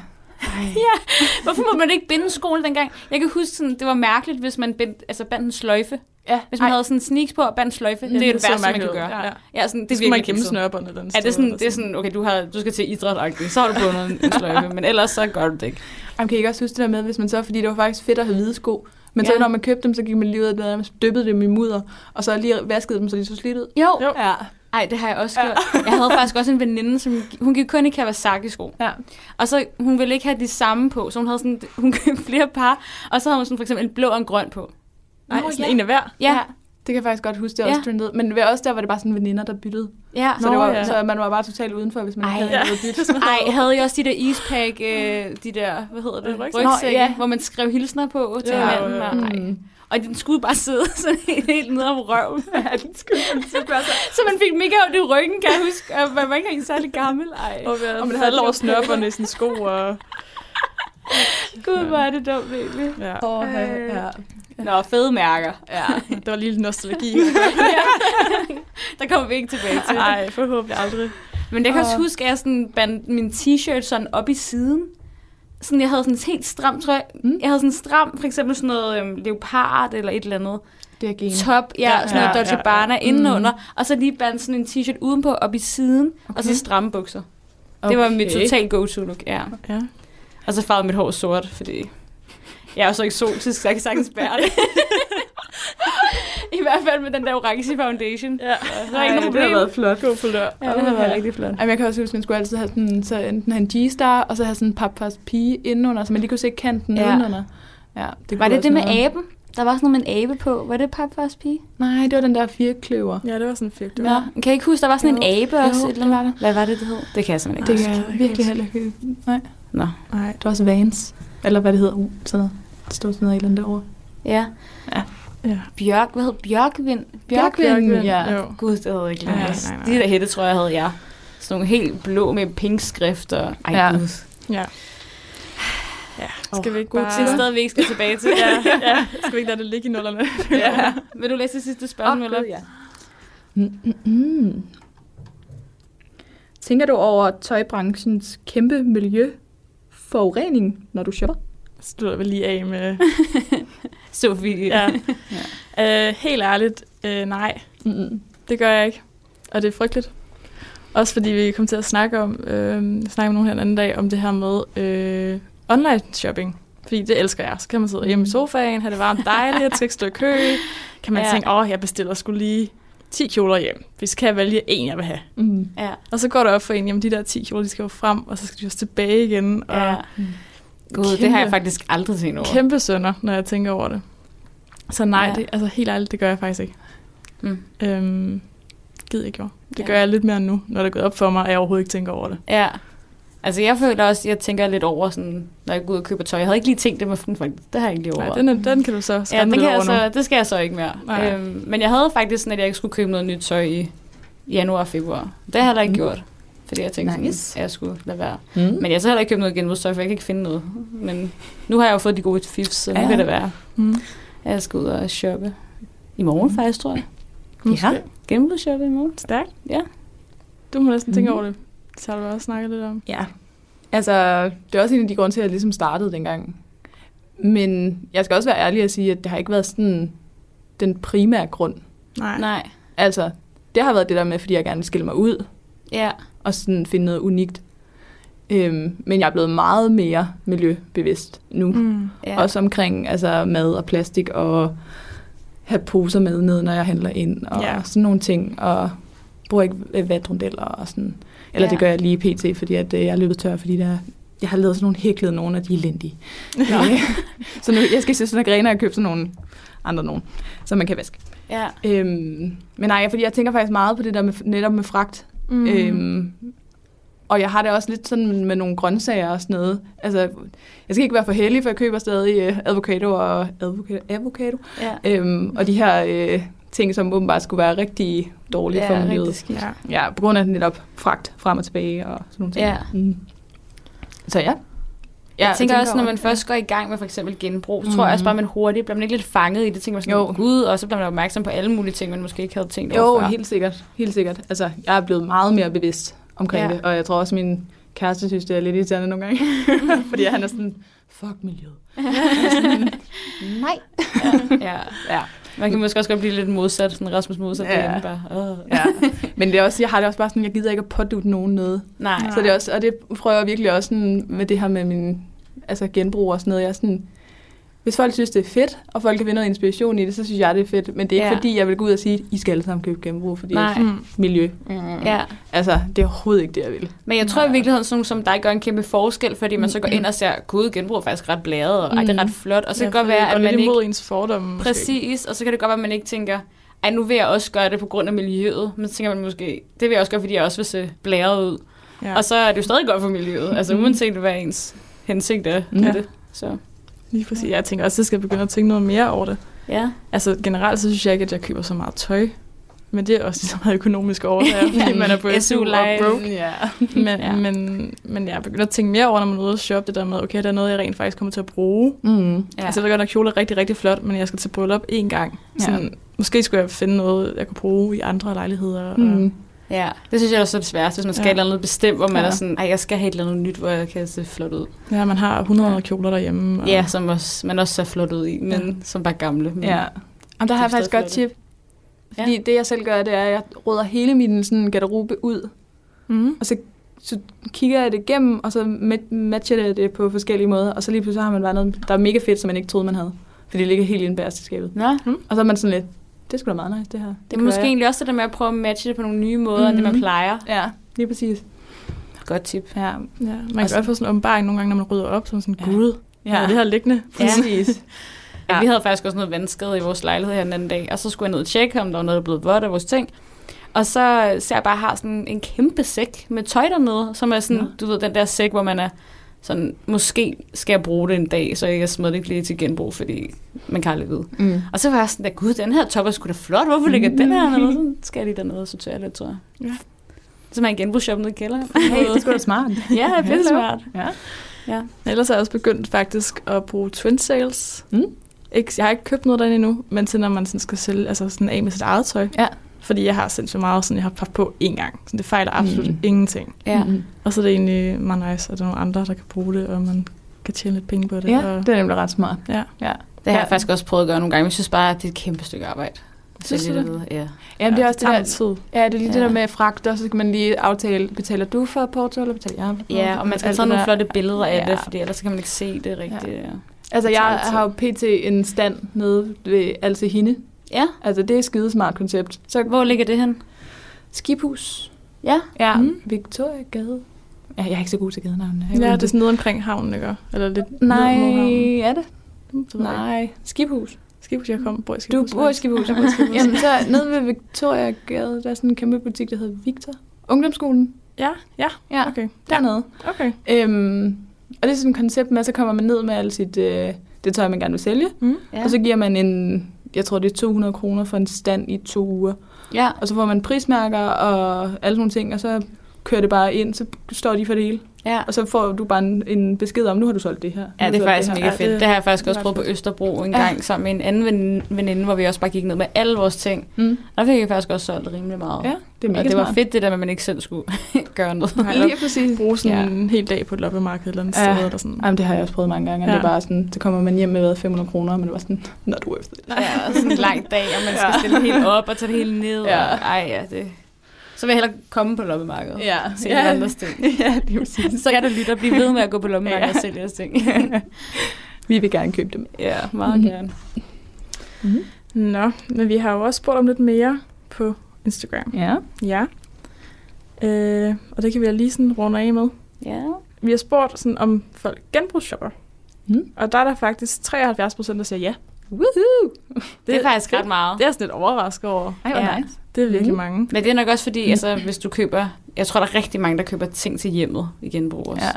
Speaker 4: Hvorfor må man ikke binde skoene dengang? Jeg kan huske, sådan, det var mærkeligt, hvis man bind, altså, bandt en sløjfe.
Speaker 3: ja.
Speaker 4: Hvis man Ej. havde sådan en sneaks på og bandt en sløjfe. det er det
Speaker 2: så
Speaker 4: værste, man
Speaker 2: mærkeligt
Speaker 4: kan
Speaker 2: ud.
Speaker 4: gøre.
Speaker 2: Ja, ja.
Speaker 4: Ja, sådan, det,
Speaker 2: Det skulle man
Speaker 4: virkelig
Speaker 2: gemme
Speaker 4: absurd.
Speaker 2: snørbånd eller andet
Speaker 4: Ja, det er,
Speaker 2: sted,
Speaker 4: sådan,
Speaker 2: eller
Speaker 4: det er sådan, okay, du, har, du skal til idræt så har du bundet en- en sløjfe, men ellers så gør du det ikke.
Speaker 3: Jamen, kan I ikke også huske det der med, hvis man så, fordi det var faktisk fedt at have hvide sko, Men så
Speaker 4: Ja.
Speaker 3: når man købte dem, så gik man lige ud af det, og nærmest dyppede dem i mudder, og så lige vaskede dem, så de så slidt ud.
Speaker 4: Jo.
Speaker 2: Jo.
Speaker 4: jo.
Speaker 3: Ja.
Speaker 4: Ej, det har jeg også gjort. Jeg havde faktisk også en veninde, som hun gik kun i Kawasaki-sko.
Speaker 3: Ja.
Speaker 4: Og så hun ville ikke have de samme på, så hun havde sådan, hun købte flere par, og så havde hun sådan for eksempel en blå og en grøn på.
Speaker 2: Nej,
Speaker 3: Nå,
Speaker 2: sådan
Speaker 3: ja.
Speaker 2: en af hver.
Speaker 4: Ja, ja.
Speaker 3: Det kan jeg faktisk godt huske, det er også
Speaker 4: Ja.
Speaker 3: trendet. Men ved- også der var det bare sådan veninder, der byttede.
Speaker 4: ja.
Speaker 3: Så,
Speaker 2: Nå,
Speaker 3: det var,
Speaker 2: ja.
Speaker 3: så man var bare totalt udenfor, hvis man
Speaker 4: Ej.
Speaker 3: ikke havde
Speaker 4: Ja.
Speaker 3: noget at bytte.
Speaker 4: Ej, havde I også de der ispack, øh, de der, hvad hedder det,
Speaker 2: Øh, rygsække.
Speaker 4: rygsække,
Speaker 3: Nå, ja.
Speaker 4: hvor man skrev hilsner på til
Speaker 2: Ja,
Speaker 4: hinanden.
Speaker 2: ja,
Speaker 4: Ja,
Speaker 2: ja.
Speaker 3: Mm.
Speaker 4: Nej. Og den skulle bare sidde *laughs* sådan helt, helt nede om røven.
Speaker 3: Ja, det skulle man så gøre så.
Speaker 4: Så man fik mega ondt i ryggen, kan jeg huske. Og man var ikke engang særlig gammel. Ej,
Speaker 2: Og vi havde
Speaker 3: Og man
Speaker 2: man
Speaker 3: havde
Speaker 2: faldet over
Speaker 3: lige-
Speaker 2: snørperne i sådan sko og...
Speaker 4: gud, hvor er det dumt egentlig.
Speaker 2: Ja,
Speaker 3: Åh, ja,
Speaker 4: Øh.
Speaker 3: ja.
Speaker 4: Nå, fede mærker. Ja.
Speaker 2: der var lige lidt nostalgi.
Speaker 4: *laughs* Der kommer vi ikke tilbage til.
Speaker 2: Nej, forhåbentlig aldrig.
Speaker 4: Men jeg kan også
Speaker 3: Og-
Speaker 4: huske, at jeg sådan bandt min t-shirt sådan op i siden. Sådan, jeg havde sådan en helt stram trøje.
Speaker 3: Mm.
Speaker 4: Jeg havde sådan en stram, for eksempel sådan noget øhm, leopard eller et eller andet.
Speaker 3: Det er gen.
Speaker 4: Top,
Speaker 2: Ja,
Speaker 4: ja, ja sådan noget
Speaker 2: ja,
Speaker 4: Dolce
Speaker 2: ja, ja.
Speaker 4: Gabbana
Speaker 3: Mm.
Speaker 4: indenunder. Og så lige bandt sådan en t-shirt udenpå op i siden. Okay. Og så stramme bukser. Okay. Det var mit total go-to look, ja.
Speaker 2: Ja.
Speaker 4: Og så farvede mit hår sort, fordi jeg er jo så eksotisk, så jeg kan sagtens bære det. *laughs* I hvert fald med den der orange foundation.
Speaker 2: ja.
Speaker 4: Så er der ikke
Speaker 3: Ej,
Speaker 4: nogen
Speaker 3: det har
Speaker 4: problem.
Speaker 3: været flot.
Speaker 2: God kulør.
Speaker 4: Ja, det har været rigtig flot.
Speaker 3: Jamen, jeg kan også huske, at man skulle altid have sådan, så enten have en G-star, og så have sådan en pappas pige indenunder, så man lige kunne se kanten
Speaker 4: Ja.
Speaker 3: ja. nedenunder. Ja, det
Speaker 4: Var
Speaker 3: kunne
Speaker 4: det det
Speaker 3: også
Speaker 4: med
Speaker 3: noget.
Speaker 4: aben? Der var sådan noget med en abe på. Var det papfars pige?
Speaker 3: Nej, det var den der firekløver.
Speaker 2: Ja, det var sådan fedt.
Speaker 4: Ja. Kan jeg ikke huske, der var sådan
Speaker 3: Jo.
Speaker 4: en abe
Speaker 3: Jo,
Speaker 4: også? et
Speaker 3: det
Speaker 4: eller
Speaker 3: var der.
Speaker 4: andet? Hvad var det, det hed? Det kan jeg simpelthen
Speaker 3: Det
Speaker 4: ikke
Speaker 3: kan
Speaker 2: jeg ikke
Speaker 3: jeg virkelig
Speaker 2: huske.
Speaker 3: heller ikke. Nej,
Speaker 4: Nå.
Speaker 2: Nej.
Speaker 3: det var også Vans. Eller hvad det hedder. Uh, sådan noget. Det stod sådan noget et eller andet over.
Speaker 4: Ja.
Speaker 2: Ja.
Speaker 4: Bjørk, hvad hed Bjørkvind?
Speaker 3: Bjørkvind, ja.
Speaker 2: Jo.
Speaker 4: Gud, det havde jeg ikke
Speaker 2: Nej,
Speaker 4: læst.
Speaker 2: nej, nej.
Speaker 4: De der hætte, tror jeg, havde jeg. Sådan nogle helt blå med pink skrift og... Ej,
Speaker 3: Ja.
Speaker 4: gud.
Speaker 2: Ja. Ja, skal vi ikke
Speaker 4: Gode
Speaker 2: bare...
Speaker 4: til et sted, vi ikke skal tilbage til. *laughs*
Speaker 2: ja, *laughs* ja, skal vi ikke lade det ligge i nullerne? *laughs*
Speaker 4: ja. Vil du læse det sidste spørgsmål? eller?
Speaker 3: ja. Mm, Mm-mm. Tænker du over tøjbranchens kæmpe miljøforurening, når du shopper?
Speaker 2: Slutter vi lige af med...
Speaker 4: Sofie.
Speaker 2: Ja.
Speaker 4: *laughs*
Speaker 2: Øh, helt ærligt, øh, nej,
Speaker 4: Mm,
Speaker 3: Mm-mm.
Speaker 2: det gør jeg ikke. Og det er frygteligt. Også fordi vi kom til at snakke om, øh, snakke med nogen her den anden dag, om det her med øh, online shopping. Fordi det elsker jeg. Så kan man sidde hjemme i sofaen, have det varmt
Speaker 4: *laughs*
Speaker 2: dejligt, skal ikke stå i kø. Kan man
Speaker 4: Mm. Ja.
Speaker 2: ja. tænke, åh, jeg bestiller skulle lige 10 kjoler hjem. Hvis kan jeg vælge en, jeg vil have.
Speaker 3: Mm.
Speaker 4: Ja.
Speaker 2: Og så går det op for en, jamen de der 10 kjoler, de skal jo frem, og så skal de også tilbage igen. Og
Speaker 4: ja.
Speaker 2: ja.
Speaker 3: mm.
Speaker 4: Gud, det
Speaker 2: Kæmpe-
Speaker 4: har jeg faktisk aldrig tænkt over.
Speaker 2: kæmpe sønder, når jeg tænker over det. Så nej,
Speaker 4: Ja.
Speaker 2: ja. det, altså helt ærligt, det gør jeg faktisk ikke.
Speaker 4: Mm.
Speaker 2: Øhm, gid jeg gjorde. Det
Speaker 4: Ja.
Speaker 2: ja. gør jeg lidt mere nu, når det er gået op for mig, at jeg overhovedet ikke tænker over det.
Speaker 4: Ja. Altså, jeg føler også, jeg tænker lidt over, sådan, når jeg går ud og køber tøj. Jeg havde ikke lige tænkt det med sådan, faktisk. Det har jeg ikke lige
Speaker 2: Nej,
Speaker 4: overvejet.
Speaker 2: den, er, den kan du så
Speaker 4: ja,
Speaker 2: skræmme
Speaker 4: den
Speaker 2: ja,
Speaker 4: kan
Speaker 2: lidt over
Speaker 4: jeg
Speaker 2: så... nu.
Speaker 4: så, det skal jeg så ikke mere.
Speaker 2: Nej.
Speaker 4: Øhm, men jeg havde faktisk sådan, at jeg ikke skulle købe noget nyt tøj i januar og februar. Det har jeg heller ikke
Speaker 3: Mm.
Speaker 4: gjort. Fordi jeg tænkte,
Speaker 3: Nice.
Speaker 4: sådan, at jeg skulle lade være.
Speaker 3: Mm.
Speaker 4: Men jeg har så heller ikke købt noget genbrugstøj, for jeg kan ikke finde noget. Men nu har jeg jo fået de gode fifs, så nu
Speaker 3: Ja.
Speaker 4: ja. kan det være,
Speaker 2: Mm.
Speaker 4: at jeg skal ud og shoppe. I morgen faktisk, tror jeg.
Speaker 2: Måske.
Speaker 4: Genbrugsshoppe i morgen.
Speaker 2: Stærkt.
Speaker 4: Ja.
Speaker 2: Du må næsten tænke
Speaker 3: Mhm.
Speaker 2: over
Speaker 4: Mm.
Speaker 2: det. Så har du også snakket lidt om.
Speaker 3: Ja. Altså, det er også en af de grunde til, at jeg ligesom startede dengang. Men jeg skal også være ærlig og sige, at det har ikke været sådan den primære grund.
Speaker 2: Nej.
Speaker 4: Nej.
Speaker 3: Altså, det har været det der med, fordi jeg gerne vil skille mig ud
Speaker 4: Ja.
Speaker 3: og sådan finde noget unikt. Øhm, men jeg er blevet meget mere miljøbevidst nu. Mm.
Speaker 2: Mm.
Speaker 4: ja.
Speaker 3: Også omkring altså, mad og plastik og have poser med ned, når jeg handler ind og
Speaker 2: Ja.
Speaker 3: yeah. sådan nogle ting. Og bruger ikke øh, vatrundeller og sådan. Eller
Speaker 4: Ja.
Speaker 3: det gør jeg lige pt, fordi at, øh, jeg er løbet tør, fordi der, jeg har lavet sådan nogle hæklede nogen, og de er elendige. *laughs* Øh, så nu, jeg skal se sådan nogle grener og købe sådan nogle andre nogen, som man kan vaske.
Speaker 4: ja.
Speaker 3: Øhm, men nej, fordi jeg tænker faktisk meget på det der med, netop med fragt. Mm. Øhm, og jeg har det også lidt sådan med nogle grøntsager og sådan noget. Altså, jeg skal ikke være for heldig, for jeg køber stadig øh, avocado og avocado, avocado.
Speaker 4: ja.
Speaker 3: Øhm, og de her øh, ting, som åbenbart skulle være rigtig dårlige for
Speaker 4: ja,
Speaker 3: miljøet.
Speaker 4: rigtig skidt.
Speaker 2: Ja.
Speaker 3: Ja, på grund af netop fragt frem og tilbage og sådan nogle ting.
Speaker 4: Ja.
Speaker 3: Mm. Så ja. ja
Speaker 4: Jeg tænker, også, når
Speaker 3: over-
Speaker 4: man først går i gang med for eksempel genbrug, så
Speaker 3: Mhm.
Speaker 4: tror jeg også bare, man hurtigt bliver man ikke lidt fanget i det. Tænker man sådan,
Speaker 3: Jo.
Speaker 4: jo. gud, og så bliver man opmærksom på alle mulige ting, man måske ikke havde tænkt over
Speaker 3: Jo,
Speaker 4: før. *laughs*
Speaker 3: helt sikkert. Helt sikkert. Altså, jeg er blevet meget mere bevidst omkring
Speaker 4: Ja.
Speaker 3: ja. det, og jeg tror også, min kæreste synes, det er lidt irriterende nogle gange, *laughs* fordi han er sådan, fuck miljøet.
Speaker 4: Nej. Ja, ja, ja. Man kan måske også godt blive lidt modsat, sådan Rasmus modsat
Speaker 3: Ja.
Speaker 4: ja. derhjemme bare. Åh.
Speaker 3: Ja. Men det er også, jeg har det også bare sådan, jeg gider ikke at pådute nogen noget.
Speaker 4: *laughs* Nej.
Speaker 3: Så det er også, og det prøver jeg virkelig også sådan, med det her med min altså genbrug og sådan noget. Jeg er sådan, Hvis folk synes, det er fedt, og folk kan finde noget inspiration i det, så synes jeg, det er fedt. Men det er ikke
Speaker 4: Ja.
Speaker 3: ja. fordi, jeg vil gå ud og sige, I skal alle sammen købe genbrug, fordi
Speaker 4: Nej.
Speaker 2: Mm.
Speaker 3: miljø.
Speaker 4: Ja.
Speaker 3: Altså, det er overhovedet ikke det, jeg vil.
Speaker 4: Men jeg tror i virkeligheden, sådan nogen som dig gør en kæmpe forskel, fordi man så går ind og ser, gud, genbrug er faktisk ret bladet, og ej, det er
Speaker 3: Mm.
Speaker 4: ret flot. Og så kan det godt være, at man
Speaker 2: lidt
Speaker 4: ikke...
Speaker 2: imod ens fordomme. måske.
Speaker 4: Præcis, og så kan det godt være, at man ikke tænker, ej, nu vil jeg også gøre det på grund af miljøet. Men så tænker man måske, det vil jeg også gøre, fordi jeg også vil se blæret ud.
Speaker 2: Ja.
Speaker 4: Ja. Og så er det jo stadig godt for *laughs* miljøet, altså uanset hvad ens hensigt er med
Speaker 2: Ja.
Speaker 4: det. Så,
Speaker 2: Lige præcis. Jeg tænker også, at jeg skal begynde at tænke noget mere over det.
Speaker 4: ja.
Speaker 2: Altså generelt, så synes jeg ikke, at jeg køber så meget tøj. Men det er også *laughs* så meget økonomisk årsager,
Speaker 4: *laughs*
Speaker 2: fordi man er på SU og
Speaker 4: SU-leje.
Speaker 2: broke.
Speaker 3: Ja.
Speaker 2: Men,
Speaker 4: Ja.
Speaker 2: ja. men, men jeg begynder at tænke mere over, når man er ude og shoppe, det der med, okay, der er noget, jeg rent faktisk kommer til at bruge.
Speaker 3: Mm.
Speaker 2: Ja. Altså, jeg ved godt, at kjole er rigtig, rigtig flot, men jeg skal til bryllup én gang.
Speaker 3: Ja.
Speaker 2: Sådan, Måske skulle jeg finde noget, jeg kunne bruge i andre lejligheder.
Speaker 3: Mm.
Speaker 2: Mm.
Speaker 4: ja. Det synes jeg også er det sværeste, hvis man skal ja.
Speaker 2: Ja.
Speaker 4: et eller andet bestemt, hvor man ja.
Speaker 2: Ja.
Speaker 4: er sådan, ej, jeg skal have et eller andet nyt, hvor jeg kan se flot ud.
Speaker 2: Og, ja, man har 100 ja. kjoler derhjemme. Og,
Speaker 4: Ja, som også, man også ser flot ud i, men ja. som bare gamle. Men,
Speaker 3: Ja. Jamen, der har
Speaker 4: Det
Speaker 3: jeg
Speaker 4: er
Speaker 3: faktisk godt
Speaker 4: stadig
Speaker 3: tip. Fordi det, jeg selv gør, det er, at jeg råder hele min sådan, garderobe ud,
Speaker 2: Mm.
Speaker 3: og så, så kigger jeg det igennem, og så ma- matcher jeg det på forskellige måder, og så lige pludselig har man bare noget, der er mega fedt, som man ikke troede, man havde. Fordi det ligger helt inde bag skabet.
Speaker 4: Nå,
Speaker 3: Og så er man sådan lidt, det er sgu da meget nice, det her.
Speaker 4: det
Speaker 3: gør
Speaker 4: er måske
Speaker 3: jeg.
Speaker 4: egentlig også det der med at prøve at matche det på nogle nye måder, mm. end det man
Speaker 3: Mhm.
Speaker 4: plejer.
Speaker 3: Ja, lige præcis.
Speaker 4: Godt tip.
Speaker 3: Ja,
Speaker 2: Ja, man kan
Speaker 3: Altså-
Speaker 2: godt få sådan en åbenbaring nogle gange, når man rydder op, som sådan, gud, ja.
Speaker 3: ja.
Speaker 2: det her liggende.
Speaker 3: præcis.
Speaker 4: Ja.
Speaker 3: Ja.
Speaker 4: Vi havde faktisk også noget vandskade i vores lejlighed her den anden dag, og så skulle jeg ned og tjekke, om der var noget, der blev vådt af vores ting. Og så ser jeg bare, at jeg har sådan en kæmpe sæk med tøj dernede, som er sådan,
Speaker 3: Nå.
Speaker 4: du ved, den der sæk, hvor man er sådan, måske skal jeg bruge det en dag, så jeg smider det ikke lige til genbrug, fordi man kan aldrig vide.
Speaker 3: *laughs* Mm.
Speaker 4: Og så var jeg sådan, at gud, den her top er sgu da flot, hvorfor ligger den her dernede? Så skal jeg lige dernede og sortere lidt, tror jeg.
Speaker 2: Ja.
Speaker 4: Så man genbrugsshop nede i kælderen.
Speaker 3: *laughs* Hey, det er sgu da smart.
Speaker 4: ja, det er smart.
Speaker 3: Ja.
Speaker 2: Ellers er jeg også begyndt faktisk at bruge twin sales.
Speaker 3: Mm.
Speaker 2: Ikke, jeg har ikke købt noget derinde endnu, men til når man sådan skal sælge altså sådan af med sit eget tøj.
Speaker 3: Ja.
Speaker 2: Fordi jeg har sindssygt meget, sådan jeg har haft på én gang. Så det fejler absolut
Speaker 3: Mm.
Speaker 2: mm. ingenting.
Speaker 4: Ja.
Speaker 3: Mm.
Speaker 2: Og så er det egentlig meget nice, at der er nogle andre, der kan bruge det, og man kan tjene lidt penge på det.
Speaker 3: ja,
Speaker 2: og,
Speaker 3: det er nemlig ret smart.
Speaker 2: ja.
Speaker 3: Ja.
Speaker 4: Det har jeg
Speaker 3: Ja.
Speaker 4: faktisk også prøvet at gøre nogle gange, men jeg synes bare, at det er et kæmpe stykke arbejde.
Speaker 2: Synes
Speaker 4: Sælge
Speaker 2: du
Speaker 4: det? ved, Ja.
Speaker 3: Jamen, det er også det
Speaker 2: tager
Speaker 3: der,
Speaker 2: lidt tid.
Speaker 3: Ja, det er lige ja. det
Speaker 4: Ja.
Speaker 3: der med fragt, og så skal man lige aftale, betaler du for Porto, eller betaler jeg for Porto?
Speaker 4: ja, og man skal
Speaker 3: Alt
Speaker 4: tage
Speaker 3: det
Speaker 4: nogle
Speaker 3: der.
Speaker 4: flotte billeder af
Speaker 3: Ja.
Speaker 4: det, fordi ellers så kan man ikke se det rigtigt. Ja,
Speaker 3: Altså,
Speaker 4: det tager
Speaker 3: jeg
Speaker 4: lidt tid.
Speaker 3: har jo pt. en stand nede ved altså hende.
Speaker 4: ja.
Speaker 3: Altså, det er et skidesmart koncept. Så
Speaker 4: hvor ligger det hen?
Speaker 3: skibhus.
Speaker 4: Ja.
Speaker 3: Ja,
Speaker 2: Mm.
Speaker 3: mm. Victoria Gade. Ja, jeg er ikke så god til gadenavnene. Jeg
Speaker 2: Ja,
Speaker 3: ved
Speaker 2: det er sådan nede omkring havnen, ikke? Eller lidt ned
Speaker 3: Nej,
Speaker 2: mod havnen.
Speaker 3: er det?
Speaker 2: Mm, det ved jeg ikke.
Speaker 3: Nej. Skibhus.
Speaker 2: Skibhus, jeg kommer bor i
Speaker 3: Du
Speaker 2: Skibhus.
Speaker 3: bor i Skibhus.
Speaker 2: Jeg bor i Skibhus.
Speaker 3: *laughs* Jamen, så nede ved Victoria Gade, der er sådan en kæmpe butik, der hedder Victor. Ungdomsskolen.
Speaker 2: Ja, ja,
Speaker 3: Ja, okay.
Speaker 2: okay.
Speaker 3: dernede.
Speaker 2: Okay.
Speaker 3: Øhm, og det er sådan et koncept med, at så kommer man ned med alt sit, øh, det tøj, man gerne vil sælge.
Speaker 2: Mm.
Speaker 4: Ja.
Speaker 3: Ja. Og så giver man en, jeg tror det er 200 kroner for en stand i to uger.
Speaker 4: ja.
Speaker 3: Og så får man prismærker og alle sådan nogle ting, og så kører det bare ind, så står de for det hele.
Speaker 4: ja.
Speaker 3: Og så får du bare en, en besked om, nu har du solgt det her. Nu
Speaker 4: Ja,
Speaker 3: har
Speaker 4: det
Speaker 3: du
Speaker 4: er
Speaker 3: solgt
Speaker 4: faktisk
Speaker 3: her.
Speaker 4: mega
Speaker 2: Ja,
Speaker 4: fedt.
Speaker 2: det-
Speaker 4: Det har jeg faktisk
Speaker 2: det er
Speaker 4: også
Speaker 2: ret
Speaker 4: prøvet på
Speaker 2: fedt.
Speaker 4: Østerbro en
Speaker 3: Ja.
Speaker 4: gang sammen med en anden ven- veninde, hvor vi også bare gik ned med alle vores ting.
Speaker 3: Mm.
Speaker 4: Der fik jeg faktisk også solgt rimelig meget.
Speaker 3: Ja, det er mega
Speaker 4: og det var
Speaker 3: smart.
Speaker 4: fedt det der med, at man ikke selv skulle *laughs* gøre noget.
Speaker 3: Lige præcis.
Speaker 2: Bruge sådan
Speaker 3: Ja.
Speaker 2: en hel dag på et loppemarked eller andet
Speaker 3: Ja.
Speaker 2: sted. Eller sådan.
Speaker 3: Jamen, det har jeg også prøvet mange gange, og ja.
Speaker 2: Ja.
Speaker 3: det er bare sådan, så kommer man hjem med hvad, 500 kroner, men det var sådan, not worth it.
Speaker 4: Ja, og *laughs* sådan en lang dag, og man skal
Speaker 3: Ja.
Speaker 4: stille det helt op og tage det helt ned. Ja.
Speaker 3: Ja.
Speaker 4: Og, ej, ja, det... Så vil jeg hellere komme på loppemarkedet.
Speaker 3: Ja,
Speaker 4: Sælge
Speaker 3: ja.
Speaker 4: andres ting. *laughs*
Speaker 3: ja, lige præcis.
Speaker 4: Så kan du lytte og blive ved med at gå på lommemarkedet ja.
Speaker 3: Ja.
Speaker 4: og sælge jeres *laughs* ting.
Speaker 3: Vi vil gerne købe dem.
Speaker 4: ja, meget
Speaker 3: Mhm.
Speaker 4: gerne.
Speaker 3: Mm-hmm.
Speaker 2: Nå, men vi har jo også spurgt om lidt mere på Instagram.
Speaker 3: Ja.
Speaker 2: Ja. Øh, og det kan vi da lige sådan runde af med.
Speaker 4: Ja.
Speaker 2: Vi har spurgt, sådan, om folk genbrugsshopper.
Speaker 3: Mm.
Speaker 2: Og der er der faktisk 73 procent, der siger ja.
Speaker 3: Woohoo!
Speaker 2: Det,
Speaker 4: Det er faktisk ret meget.
Speaker 2: Det er jeg sådan lidt overrasket over.
Speaker 3: Ej, hvor
Speaker 4: Ja.
Speaker 3: nice.
Speaker 2: Det er virkelig
Speaker 3: Mm.
Speaker 2: mange.
Speaker 4: Men det er nok også
Speaker 3: Mhm.
Speaker 4: fordi, altså, hvis du køber... Jeg tror, der er rigtig mange, der køber ting til hjemmet i genbrug også.
Speaker 3: Ja.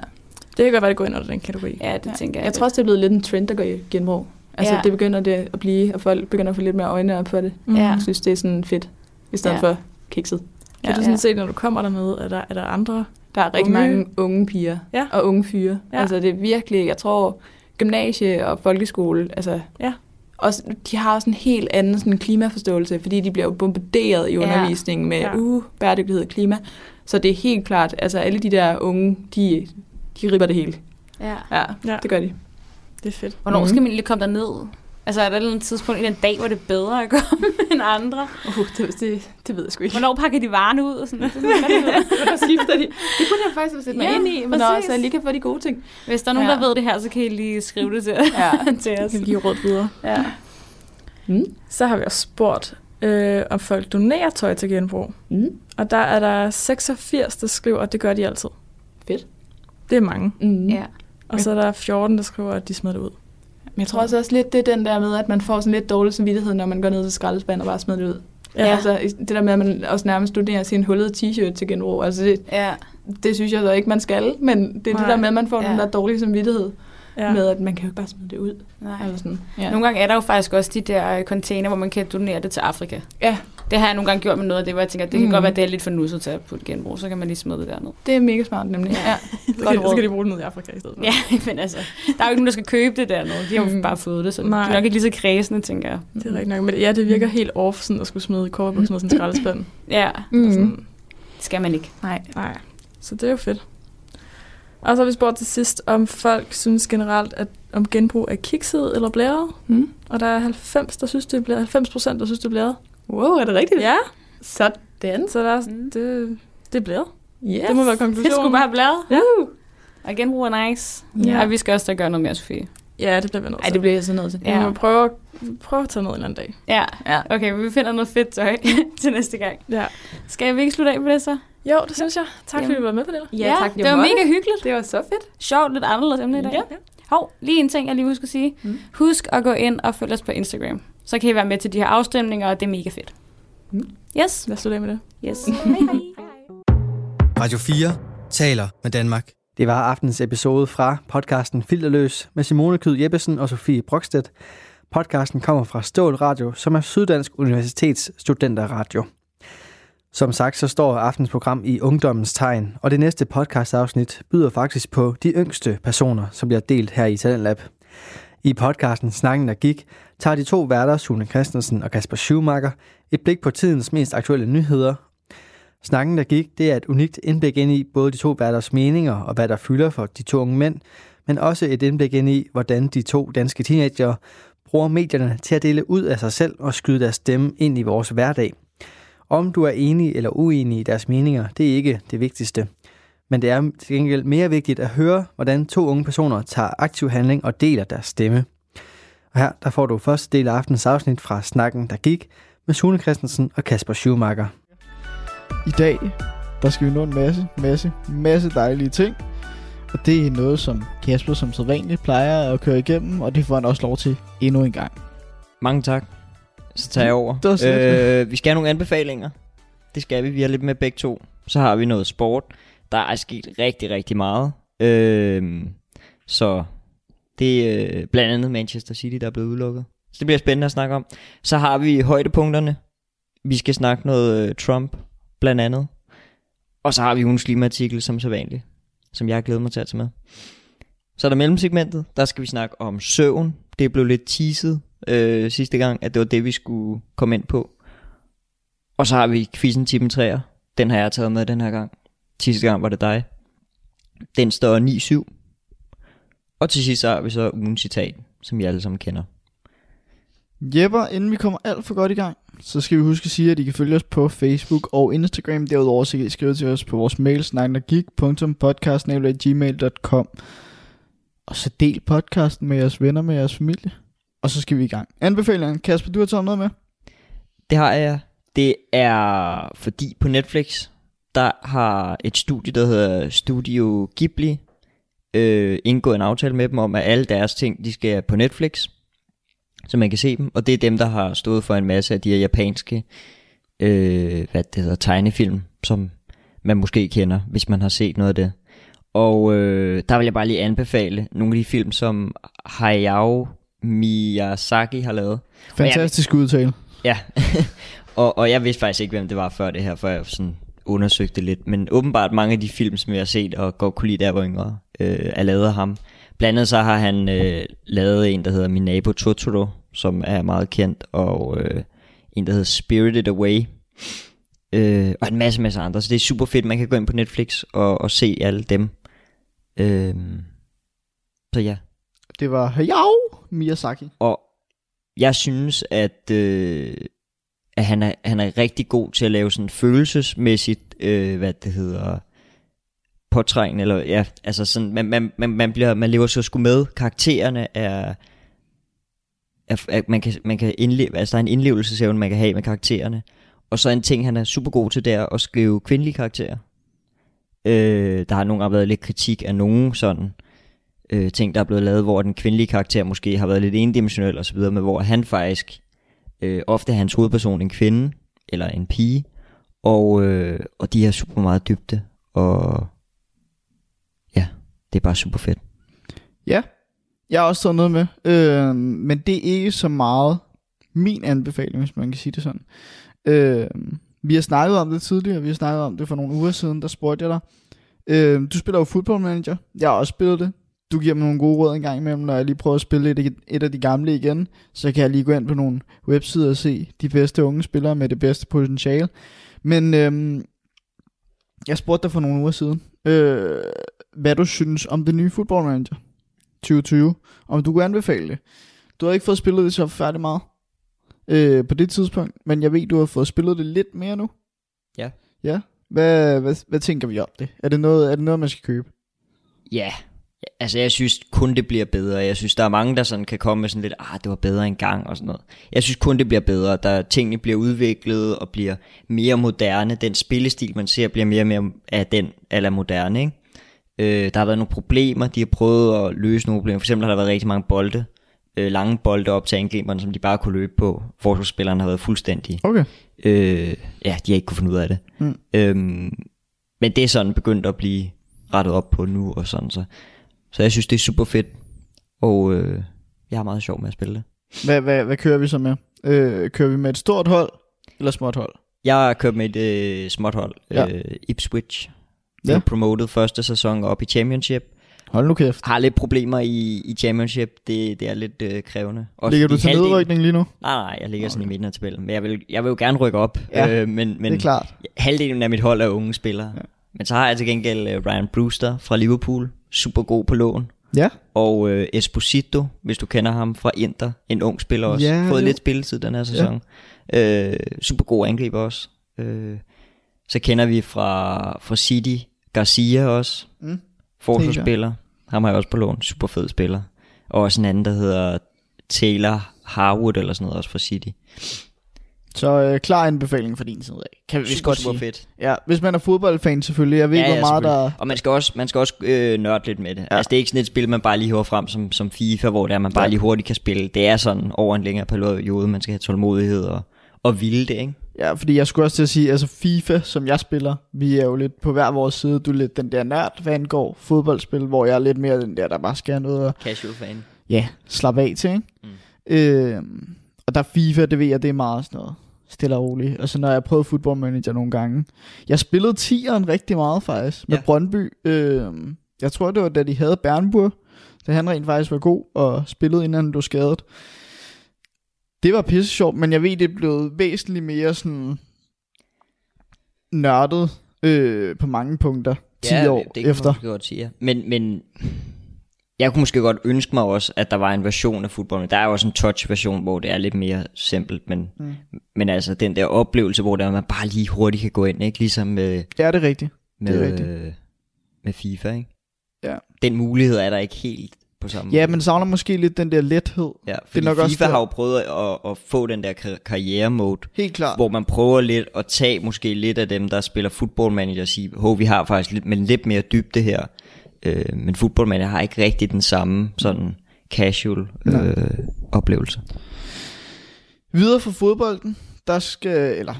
Speaker 2: Det kan godt være, det går ind under den kategori.
Speaker 4: ja det
Speaker 3: Ja.
Speaker 4: tænker jeg.
Speaker 3: Jeg tror også, det er blevet lidt en trend, der går i genbrug. Altså,
Speaker 4: Ja.
Speaker 3: ja. det begynder det at blive, og folk begynder at få lidt mere øjne op for det.
Speaker 2: Mm.
Speaker 4: Ja.
Speaker 3: Jeg synes, det er sådan fedt, i stedet
Speaker 4: Ja.
Speaker 3: ja. for kikset.
Speaker 2: Kan ja, du
Speaker 4: Ja.
Speaker 2: sådan set, når du kommer dernede, er der, er der andre?
Speaker 3: Der er rigtig
Speaker 2: Unge.
Speaker 3: unge. mange unge piger
Speaker 2: Ja.
Speaker 3: og unge fyre.
Speaker 2: Ja.
Speaker 3: Ja. Altså, det er virkelig, jeg tror, gymnasie og folkeskole, altså...
Speaker 2: Ja.
Speaker 3: Og s- de har også en helt anden sådan, klimaforståelse, fordi de bliver jo bombarderet i
Speaker 4: Ja.
Speaker 3: undervisningen med
Speaker 2: Ja.
Speaker 3: ja. uh, bæredygtighed og klima. Så det er helt klart, altså alle de der unge, de, de ripper det hele.
Speaker 4: Ja.
Speaker 3: Ja,
Speaker 2: Ja.
Speaker 3: ja, det gør de.
Speaker 2: Det er fedt.
Speaker 4: Hvornår
Speaker 3: Mhm.
Speaker 4: skal man lige komme derned? Altså er der et eller andet tidspunkt i den dag, hvor det er bedre at *laughs* komme end andre?
Speaker 3: Uh, det, det, det ved jeg sgu ikke.
Speaker 4: Hvornår pakker de varerne ud? Og sådan, det er sådan, hvad det hedder.
Speaker 3: Hvornår skifter de? Det kunne jeg faktisk have set mig
Speaker 4: Ja,
Speaker 3: ind i, men også,
Speaker 4: præcis.
Speaker 3: så jeg lige kan få de gode ting.
Speaker 4: Hvis der er nogen, ja.
Speaker 3: Ja.
Speaker 4: der ved det her, så kan I lige skrive det til,
Speaker 3: Ja.
Speaker 4: til os.
Speaker 2: give råd videre.
Speaker 4: Ja.
Speaker 3: *laughs* Mm.
Speaker 2: Så har vi også spurgt, øh, om folk donerer tøj til genbrug.
Speaker 3: Mm.
Speaker 2: Og der er der 86, der skriver, at det gør de altid.
Speaker 3: Fedt.
Speaker 2: Det er mange.
Speaker 3: Mm.
Speaker 4: ja.
Speaker 2: Og så er der 14, der skriver, at de smider det ud.
Speaker 3: Men jeg tror også, også lidt, det er den der med, at man får sådan lidt dårlig samvittighed, når man går ned til skraldespanden og bare smider det ud. Ja. Altså, det der med, at man også nærmest studerer sin hullede t-shirt til genbrug, altså det,
Speaker 4: ja.
Speaker 3: det synes jeg så ikke, man skal, men det er Nej.
Speaker 2: Nej.
Speaker 3: det der med, at man får
Speaker 4: Ja.
Speaker 3: ja. den der dårlige samvittighed
Speaker 2: ja.
Speaker 3: ja. med, at man kan jo ikke bare smide det ud.
Speaker 4: Nej.
Speaker 3: Eller sådan. Ja.
Speaker 4: Nogle gange er der jo faktisk også de der øh, container, hvor man kan donere det til Afrika.
Speaker 3: ja,
Speaker 4: Det har jeg nogle gange gjort med noget af det, hvor jeg tænker, at det kan mm.
Speaker 3: Mm.
Speaker 4: godt være, at det er lidt for nusset til at putte genbrug, så kan man lige smide det derned.
Speaker 3: det er mega smart nemlig. Ja.
Speaker 2: Så
Speaker 4: Godt
Speaker 2: kan, så
Speaker 4: råd.
Speaker 2: kan de bruge det ned i Afrika i stedet for.
Speaker 4: Ja, *laughs* men altså, der er jo ikke nogen, der skal købe det dernede. De har jo
Speaker 3: Mm.
Speaker 4: bare fået det, så
Speaker 2: Nej.
Speaker 4: Nej. det er nok ikke lige så kredsende, tænker jeg.
Speaker 2: Det er rigtigt nok. Men ja, det virker helt off, sådan at skulle smide kobberbuksen og sådan en skraldespand.
Speaker 4: Ja,
Speaker 2: Mm.
Speaker 3: Mhm.
Speaker 2: Sådan,
Speaker 4: det skal man ikke.
Speaker 3: Nej.
Speaker 2: nej. Så det er jo fedt. Og så har vi spurgt til sidst, om folk synes generelt, at om genbrug er kikset eller blæret.
Speaker 3: Mm.
Speaker 2: Og der er 90, der synes, det er blæret. 90 procent, der synes, det er blæret.
Speaker 3: Wow, er det rigtigt?
Speaker 2: Ja,
Speaker 3: Sådan.
Speaker 2: så der er,
Speaker 4: Mm.
Speaker 2: det, det er blæret.
Speaker 3: Yes.
Speaker 2: Det må være
Speaker 4: Det skulle
Speaker 2: konklusionen.
Speaker 4: bare have bladet.
Speaker 2: Ja.
Speaker 4: Og genbrug er nice.
Speaker 2: Ja.
Speaker 4: Ja. Og vi skal også da gøre noget mere, Sofie.
Speaker 2: Ja, det bliver vi nødt
Speaker 3: Ej,
Speaker 2: til.
Speaker 3: det bliver jeg så nødt til.
Speaker 2: ja. Vi
Speaker 4: Ja.
Speaker 2: må prøve, at- prøve at tage noget en anden dag.
Speaker 4: Ja.
Speaker 3: Ja.
Speaker 4: Okay, vi finder noget fedt tøj *laughs* til næste gang.
Speaker 2: Ja.
Speaker 4: Skal vi ikke slutte af på det så?
Speaker 2: Jo, det synes jeg. Tak fordi
Speaker 4: Jamen.
Speaker 2: du var med på det.
Speaker 3: Ja, tak,
Speaker 4: det var
Speaker 3: Jomon.
Speaker 4: mega hyggeligt.
Speaker 3: Det var så fedt.
Speaker 4: Sjovt, lidt anderledes emne i dag.
Speaker 2: ja.
Speaker 4: Hov, lige en ting, jeg lige husker at sige. Mm.
Speaker 3: Mm.
Speaker 4: Husk at gå ind og følge os på Instagram. Så kan I være med til de her afstemninger, og det er mega fedt.
Speaker 3: Mm.
Speaker 4: Yes.
Speaker 2: Lad os slutte af med det.
Speaker 4: Yes. *laughs*
Speaker 1: Radio 4 taler med Danmark. Det var aftens episode fra podcasten Filterløs med Simone Kyd Jeppesen og Sofie Brokstedt. Podcasten kommer fra Stål Radio, som er Syddansk Universitets studenterradio. Som sagt, så står aftens program i ungdommens tegn, og det næste podcastafsnit byder faktisk på de yngste personer, som bliver delt her i Talentlab. I podcasten Snakken der gik, tager de to værter, Sune Christensen og Kasper Schumacher, et blik på tidens mest aktuelle nyheder Snakken, der gik, det er et unikt indblik ind i både de to værters meninger og hvad der fylder for de to unge mænd, men også et indblik ind i, hvordan de to danske teenager bruger medierne til at dele ud af sig selv og skyde deres stemme ind i vores hverdag. Om du er enig eller uenig i deres meninger, det er ikke det vigtigste. Men det er til gengæld mere vigtigt at høre, hvordan to unge personer tager aktiv handling og deler deres stemme. Og her der får du første del af aftens afsnit fra Snakken, der gik, med Sune Christensen og Kasper Schumacher.
Speaker 5: I dag, der skal vi nå en masse, masse, masse dejlige ting. Og det er noget, som Kasper som sædvanligt plejer at køre igennem, og det får han også lov til endnu en gang.
Speaker 6: Mange tak. Så tager jeg over.
Speaker 5: Mm. Det var slet.
Speaker 6: øh, vi skal have nogle anbefalinger. Det skal vi. Vi har lidt med begge to. Så har vi noget sport. Der er sket rigtig, rigtig meget. Øh, så det er øh, blandt andet Manchester City, der er blevet udelukket. Så det bliver spændende at snakke om. Så har vi højdepunkterne. Vi skal snakke noget øh, Trump, blandt andet. Og så har vi ugens klimaartikel, som så vanligt. Som jeg har glædet mig til at tage med. Så er der mellemsegmentet. Der skal vi snakke om søvn. Det blev lidt teaset øh, sidste gang, at det var det, vi skulle komme ind på. Og så har vi quizzen Tippen træer. Den har jeg taget med den her gang. Sidste gang var det dig. Den står 9-7. Og til sidst så har vi så ugen citat, som I alle sammen kender.
Speaker 5: Jepper, inden vi kommer alt for godt i gang, så skal vi huske at sige, at I kan følge os på Facebook og Instagram. Derudover så kan I skrive til os på vores mail, snakkendergik.podcast.gmail.com Og så del podcasten med jeres venner, med jeres familie. Og så skal vi i gang. Anbefalingen, Kasper, du har taget noget med?
Speaker 6: Det har jeg. Det er fordi på Netflix, der har et studie, der hedder Studio Ghibli, øh, indgået en aftale med dem om, at alle deres ting, de skal på Netflix, så man kan se dem. Og det er dem, der har stået for en masse af de her japanske øh, hvad det hedder, tegnefilm, som man måske kender, hvis man har set noget af det. Og øh, der vil jeg bare lige anbefale nogle af de film, som Hayao Miyazaki har lavet.
Speaker 5: Fantastisk udtale.
Speaker 6: Ja, *laughs* og, og jeg vidste faktisk ikke, hvem det var før det her, før jeg sådan undersøgte det lidt. Men åbenbart mange af de film, som jeg har set og godt kunne lide, da jeg var yngre, øh, er lavet af ham. Blandt andet så har han øh, lavet en, der hedder Min Nabo Totoro, som er meget kendt, og øh, en, der hedder Spirited Away, øh, og en masse, masse andre. Så det er super fedt, man kan gå ind på Netflix og, og se alle dem. Øh, så ja,
Speaker 5: Det var Hayao Miyazaki.
Speaker 6: og jeg synes, at, øh, at han, er, han er rigtig god til at lave sådan følelsesmæssigt, øh, hvad det hedder, påtrængende, eller ja, altså sådan, man, man, man, man, bliver, man lever så sgu med, karaktererne er, er, er man kan, man kan indleve, altså der er en indlevelsesevne, man kan have med karaktererne, og så en ting, han er super god til, det er at skrive kvindelige karakterer. Øh, der har nogle gange været lidt kritik af nogen sådan øh, ting, der er blevet lavet, hvor den kvindelige karakter måske har været lidt endimensionel og så videre, men hvor han faktisk, øh, ofte er hans hovedperson en kvinde, eller en pige, og, øh, og de har super meget dybde, og ja, det er bare super fedt.
Speaker 5: Ja, jeg har også taget noget med, øh, men det er ikke så meget min anbefaling, hvis man kan sige det sådan. Øh, vi har snakket om det tidligere, vi har snakket om det for nogle uger siden, der spurgte jeg dig. Øh, du spiller jo Football Manager, jeg har også spillet det. Du giver mig nogle gode råd en gang imellem, når jeg lige prøver at spille et, et af de gamle igen. Så kan jeg lige gå ind på nogle websider og se de bedste unge spillere med det bedste potentiale. Men øh, jeg spurgte dig for nogle uger siden, øh, hvad du synes om det nye Football Manager 2020. Om du kunne anbefale det. Du har ikke fået spillet det så færdig meget øh, på det tidspunkt, men jeg ved, du har fået spillet det lidt mere nu.
Speaker 6: Ja.
Speaker 5: Ja. Hvad, hvad, hvad tænker vi om det? Er det noget, er det noget man skal købe?
Speaker 6: Ja, altså jeg synes kun det bliver bedre. Jeg synes, der er mange, der sådan kan komme med sådan lidt, ah, det var bedre engang og sådan noget. Jeg synes kun det bliver bedre. Der tingene bliver udviklet og bliver mere moderne. Den spillestil, man ser, bliver mere og mere af den eller moderne, ikke? Øh, der har været nogle problemer, de har prøvet at løse nogle problemer. For eksempel har der været rigtig mange bolde, øh, lange bolde op til angriberne, som de bare kunne løbe på. Forsvarsspillerne har været fuldstændig
Speaker 5: Okay.
Speaker 6: Øh, ja, de har ikke kunne finde ud af det.
Speaker 5: Mm.
Speaker 6: Mm. Øhm, men det er sådan begyndt at blive rettet op på nu og sådan så. Så jeg synes, det er super fedt, og øh, jeg har meget sjov med at spille det.
Speaker 5: Hvad, hvad, hvad kører vi så med? Øh, kører vi med et stort hold, eller småt hold?
Speaker 6: Jeg har kørt med et øh, småt hold,
Speaker 5: Ja.
Speaker 6: ja. øh, Ipswich.
Speaker 5: Ja.
Speaker 6: Ja. promoted første sæson op i Championship.
Speaker 5: Hold nu kæft.
Speaker 6: Har lidt problemer i, i Championship, det, det er lidt øh, krævende. Også
Speaker 5: Ligger du
Speaker 6: fordi
Speaker 5: til
Speaker 6: halvdelen-
Speaker 5: nedrykning lige nu?
Speaker 6: Nej, nej, jeg ligger okay. sådan i midten af tabellen. Men jeg vil, jeg vil jo gerne rykke op,
Speaker 5: Ja,
Speaker 6: øh, men, men
Speaker 5: det er klart.
Speaker 6: halvdelen af mit hold er unge spillere.
Speaker 5: Ja.
Speaker 6: Ja. Men så har jeg til gengæld øh, Ryan Brewster fra Liverpool, super god på lån.
Speaker 5: Ja.
Speaker 6: Og øh, Esposito, hvis du kender ham fra Inter, en ung spiller også.
Speaker 5: Ja,
Speaker 6: Ja, Fået
Speaker 5: det-
Speaker 6: lidt spilletid den her sæson. Ja. Øh, super god angriber også. Øh, så kender vi fra, fra City, Garcia også.
Speaker 5: Mm.
Speaker 6: Mm. Forsvarsspiller. Ham har jeg også på lån, super fed spiller. Og også en anden, der hedder Taylor Harwood eller sådan noget også fra City.
Speaker 5: Så øh, klar anbefaling fra din side af. Kan vi vist
Speaker 6: Super,
Speaker 5: godt sige.
Speaker 6: super fedt.
Speaker 5: Ja, hvis man er fodboldfan selvfølgelig. Jeg ved ikke,
Speaker 6: Ja,
Speaker 5: ja, hvor
Speaker 6: ja,
Speaker 5: meget der...
Speaker 6: Og man skal også, man skal også øh, nørde lidt med det.
Speaker 5: Ja.
Speaker 6: Ja. Altså, det er ikke sådan et spil, man bare lige hiver frem som, som FIFA, hvor det er, man bare
Speaker 5: Ja.
Speaker 6: ja. lige hurtigt kan spille. Det er sådan over en længere periode, man skal have tålmodighed og, og ville det, ikke?
Speaker 5: Ja, fordi jeg skulle også til at sige, altså FIFA, som jeg spiller, vi er jo lidt på hver vores side. Du er lidt den der nørd, hvad angår fodboldspil, hvor jeg er lidt mere den der, der bare skal have noget at
Speaker 6: Casual fan.
Speaker 5: ja, slappe af til, ikke? Mm. Øh, og der er FIFA, det ved jeg, det er meget sådan noget stille og roligt. Og så når jeg prøvede Football Manager nogle gange. Jeg spillede 10'eren rigtig meget faktisk, med ja.
Speaker 6: Ja.
Speaker 5: Brøndby. Øh, jeg tror, det var da de havde Bernburg, da han rent faktisk var god og spillede, inden han blev skadet. Det var pisse sjovt, men jeg ved, det blev væsentligt mere sådan nørdet øh, på mange punkter 10 ja, år
Speaker 6: det kan
Speaker 5: efter.
Speaker 6: Man måske godt sige, ja. men, men jeg kunne måske godt ønske mig også, at der var en version af fodbold, men der er jo også en touch-version, hvor det er lidt mere simpelt, men,
Speaker 5: Mm.
Speaker 6: mm. men altså den der oplevelse, hvor det er, at man bare lige hurtigt kan gå ind, ikke? Ligesom med,
Speaker 5: Ja, det er rigtigt.
Speaker 6: med,
Speaker 5: Det er rigtigt.
Speaker 6: øh, med FIFA, ikke?
Speaker 5: Ja.
Speaker 6: Den mulighed er der ikke helt på samme
Speaker 5: Ja,
Speaker 6: måde.
Speaker 5: men savner måske lidt den der lethed.
Speaker 6: Ja, fordi det
Speaker 5: nok
Speaker 6: nok
Speaker 5: også
Speaker 6: FIFA også
Speaker 5: der-
Speaker 6: har jo prøvet at, at få den der kar- karrieremode,
Speaker 5: Helt klart.
Speaker 6: hvor man prøver lidt at tage måske lidt af dem, der spiller football manager og sige, hov, vi har faktisk lidt, men lidt mere dybde her. Øh, men football manager har ikke rigtig den samme sådan casual
Speaker 5: Nej.
Speaker 6: øh, oplevelse.
Speaker 5: Videre fra fodbolden, der skal, eller,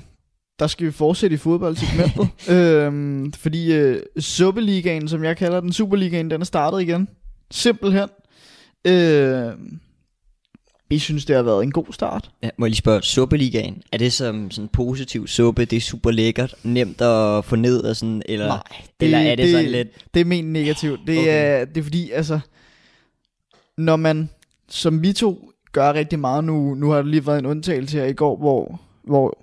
Speaker 5: der skal vi fortsætte i fodboldsegmentet, øhm, fordi øh, Suppeligaen, som jeg kalder den, Superligaen, den er startet igen. Simpelthen. Øh, vi synes, det har været en god start.
Speaker 6: *laughs* Ja, må jeg lige spørge, suppeligaen, er det som sådan positiv suppe, det er super lækkert, nemt at få ned og sådan, eller,
Speaker 5: Nej,
Speaker 6: det, eller er det, det sådan lidt,
Speaker 5: Det er ment negativt. Det, okay. er, det er fordi, altså, når man, som vi to, gør rigtig meget nu, nu har der lige været en undtagelse her i går, hvor, hvor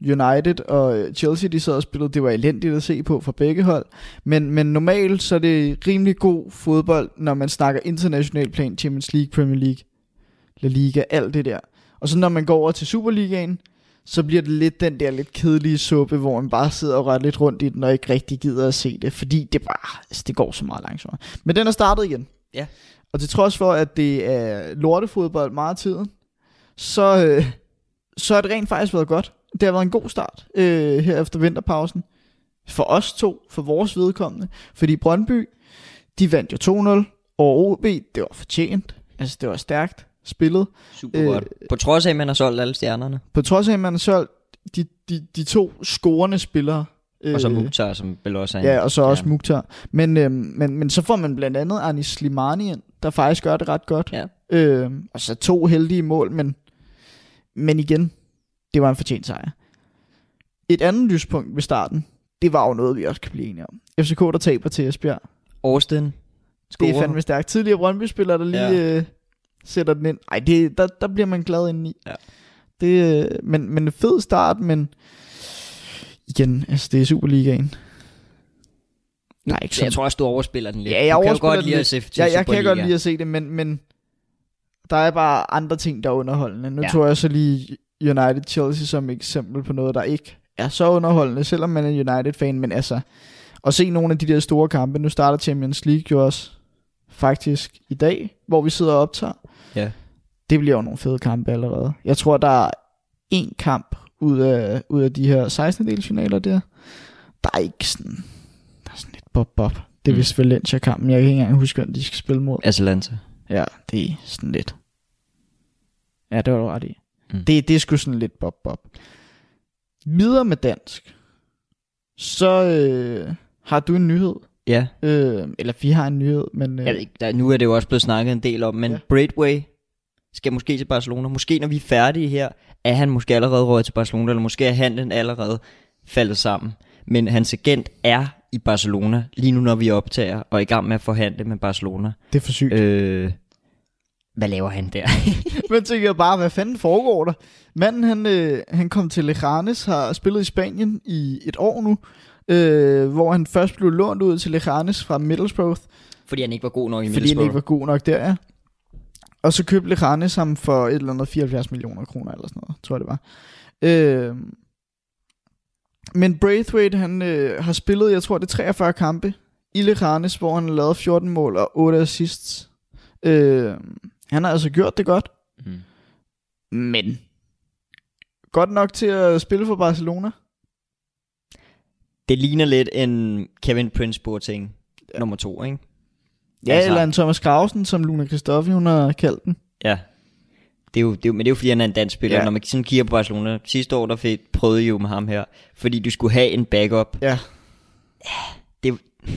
Speaker 5: United og øh, Chelsea, de sad og spillede, det var elendigt at se på for begge hold, men, men normalt, så er det rimelig god fodbold, når man snakker international plan, Champions League, Premier League, La Liga, alt det der. Og så når man går over til Superligaen, så bliver det lidt den der lidt kedelige suppe, hvor man bare sidder og rører lidt rundt i den, og ikke rigtig gider at se det, fordi det bare, altså det går så meget langsommere. Men den er startet igen.
Speaker 6: Ja.
Speaker 5: Og til trods for, at det er lortefodbold meget af tiden, så, øh, så har det rent faktisk været godt. Det har været en god start øh, her efter vinterpausen. For os to, for vores vedkommende. Fordi Brøndby, de vandt jo 2-0 over OB. Det var fortjent. Altså, det var stærkt spillet.
Speaker 6: Super øh, godt. På trods af, at man har solgt alle stjernerne.
Speaker 5: På trods af, at man har solgt de, de, de to scorende spillere.
Speaker 6: Øh, og så Mukhtar, som vel også er en
Speaker 5: Ja, og så også
Speaker 6: stjerne.
Speaker 5: Mukhtar. Men, øh, men, men så får man blandt andet Anis Slimani ind, der faktisk gør det ret godt.
Speaker 6: Ja.
Speaker 5: Øh, og så to heldige mål, men, men igen, det var en fortjent sejr. Et andet lyspunkt ved starten, det var jo noget, vi også kan blive enige om. FCK, der taber til Esbjerg.
Speaker 6: Austin.
Speaker 5: Det er
Speaker 6: scorer.
Speaker 5: fandme stærkt. Tidligere Brøndby-spillere, der lige ja. øh, sætter den ind. Ej, det, der, der bliver man glad indeni.
Speaker 6: Ja.
Speaker 5: Det, øh, men, men en fed start, men igen, altså det er Superligaen. Nej, ikke
Speaker 6: Så
Speaker 5: sådan.
Speaker 6: jeg tror også, du overspiller den lidt.
Speaker 5: Ja, jeg
Speaker 6: du kan jo
Speaker 5: overspiller
Speaker 6: godt
Speaker 5: den
Speaker 6: lide at
Speaker 5: lidt.
Speaker 6: se til
Speaker 5: jeg, jeg kan
Speaker 6: Superliga.
Speaker 5: godt lide at se det, men, men der er bare andre ting, der er underholdende. Nu
Speaker 6: Ja.
Speaker 5: ja. tror jeg så lige United Chelsea som eksempel på noget, der ikke er så underholdende, selvom man er United-fan, men altså, at se nogle af de der store kampe, nu starter Champions League jo også faktisk i dag, hvor vi sidder og optager.
Speaker 6: Ja.
Speaker 5: Det bliver jo nogle fede kampe allerede. Jeg tror, der er én kamp ud af, ud af de her 16. delsfinaler der. Der er ikke sådan, der er sådan lidt bob-bob. Det er
Speaker 6: Mm.
Speaker 5: vist Valencia-kampen. Jeg kan ikke engang huske, hvem de skal spille mod.
Speaker 6: Atalanta.
Speaker 5: Ja, det er sådan lidt. Ja, det var du ret i.
Speaker 6: Mm.
Speaker 5: Mm. Det, det er sgu sådan lidt bob-bob. Videre med dansk. Så øh, har du en nyhed.
Speaker 6: Ja.
Speaker 5: Øh, eller vi har en nyhed, men... Øh,
Speaker 6: Jeg ved ikke, der, nu er det jo også blevet snakket en del om, men ja.
Speaker 5: Ja.
Speaker 6: Braidway skal måske til Barcelona. Måske når vi er færdige her, er han måske allerede røget til Barcelona, eller måske er handlen allerede faldet sammen. Men hans agent er i Barcelona, lige nu når vi optager, og er i gang med at forhandle med Barcelona.
Speaker 5: Det er for sygt. Øh.
Speaker 6: Øh, hvad laver han der? *laughs*
Speaker 5: Men tænker jeg bare, hvad fanden foregår der? Manden, han, øh, han kom til Lejanes, har spillet i Spanien i et år nu. Øh, hvor han først blev lånt ud til Lejanes fra Middlesbrough.
Speaker 6: Fordi han ikke var god nok i
Speaker 5: Fordi han
Speaker 6: Middlesbrough.
Speaker 5: ikke var god nok der, ja. Og så købte Lejanes ham for et eller andet 74 millioner kroner eller sådan noget, tror jeg det var. Øh, men Braithwaite, han øh, har spillet, jeg tror det er 43 kampe i Lejanes, hvor han har lavet 14 mål og 8 assists. Øh, han har altså gjort det godt,
Speaker 6: Mm.
Speaker 5: men godt nok til at spille for Barcelona.
Speaker 6: Det ligner lidt en Kevin Prince Boateng ja. nummer to, ikke?
Speaker 5: Ja, altså. eller en Thomas Krausen, som Luna Kristoffi, hun har kaldt den.
Speaker 6: Ja. Det er jo, det er jo, men det er jo fordi, han er en dansk spiller. Ja.
Speaker 5: Ja.
Speaker 6: Når man sådan kigger på Barcelona, sidste år der fik, prøvede I jo med ham her, fordi du skulle have en backup.
Speaker 5: Ja.
Speaker 6: Det, I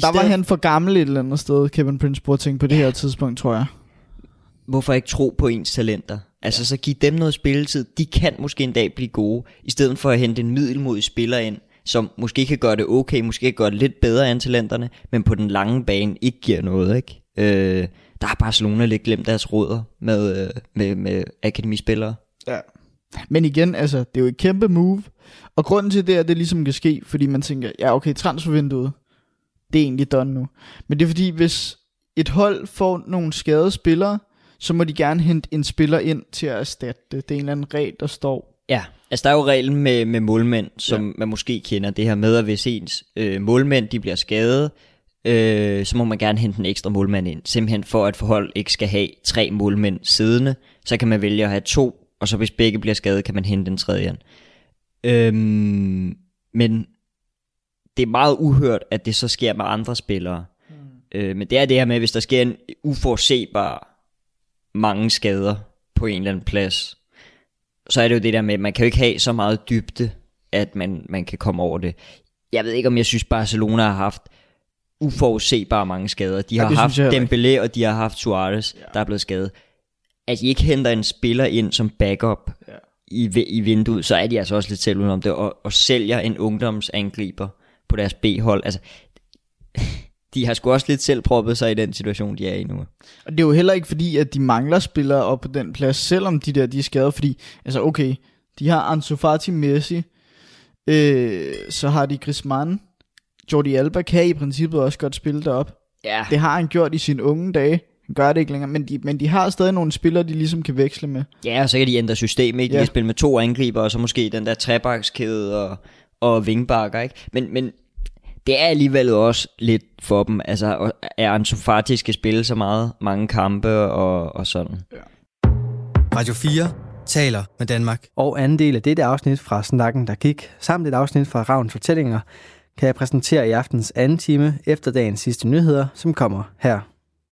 Speaker 5: Der var
Speaker 6: stedet-
Speaker 5: han for gammel et eller andet sted, Kevin Prince Boateng, på det her tidspunkt, tror jeg.
Speaker 6: Hvorfor ikke tro på ens talenter? Altså, ja. så giv dem noget spilletid. De kan måske en dag blive gode, i stedet for at hente en middelmodig spiller ind, som måske kan gøre det okay, måske kan gøre det lidt bedre end talenterne, men på den lange bane ikke giver noget, ikke? Øh, der har Barcelona lidt glemt deres rødder med, øh, med, med akademispillere.
Speaker 5: Men igen, altså, det er jo et kæmpe move. Og grunden til det er, at det ligesom kan ske, fordi man tænker, ja okay, transfervinduet, det er egentlig done nu. Men det er fordi, hvis et hold får nogle skadede spillere, så må de gerne hente en spiller ind til at erstatte det. Det er en eller anden regel, der står.
Speaker 6: Ja, altså der er jo reglen med, med målmænd, som ja. man måske kender det her med, at hvis ens øh, målmænd de bliver skadet, øh, så må man gerne hente en ekstra målmand ind. Simpelthen for, at forhold ikke skal have tre målmænd siddende, så kan man vælge at have to, og så hvis begge bliver skadet, kan man hente en tredje ind. Øhm, men det er meget uhørt, at det så sker med andre spillere. Mm. Øh, men det er det her med, hvis der sker en uforsebar mange skader på en eller anden plads, så er det jo det der med, at man kan jo ikke have så meget dybde, at man, man kan komme over det. Jeg ved ikke, om jeg synes, Barcelona har haft uforudsegbare mange skader. De
Speaker 5: Ja,
Speaker 6: har
Speaker 5: det synes
Speaker 6: haft
Speaker 5: jeg heller
Speaker 6: Dembélé, og de har haft Suarez, ja. der er blevet skadet. At I ikke henter en spiller ind som backup ja. i, vi- i vinduet, så er de altså også lidt selv udenom det, og, og sælger en ungdomsangriber på deres B-hold. Altså, *laughs* de har sgu også lidt selv proppet sig i den situation, de er i nu.
Speaker 5: Og det er jo heller ikke fordi, at de mangler spillere op på den plads, selvom de der de er skadede, fordi, altså okay, de har Ansu Fati, Messi, øh, så har de Griezmann, Jordi Alba kan i princippet også godt spille derop.
Speaker 6: Ja,
Speaker 5: Det har han gjort i sine unge dage. Han gør det ikke længere. Men de, men de har stadig nogle spillere, de ligesom kan veksle med.
Speaker 6: Ja, og så kan de ændre system, ikke? De
Speaker 5: Ja.
Speaker 6: kan spille med to angriber, og så måske den der trebakskæde og, og vingbakker, ikke? Men, men det er alligevel også lidt for dem, altså, og- at Ansu Fati skal spille så meget, mange kampe og, og sådan.
Speaker 1: Radio 4 taler med Danmark. Og anden del af dette afsnit fra Snakken, der gik, samt et afsnit fra Ravns Fortællinger, kan jeg præsentere i aftens anden time efter dagens sidste nyheder, som kommer her.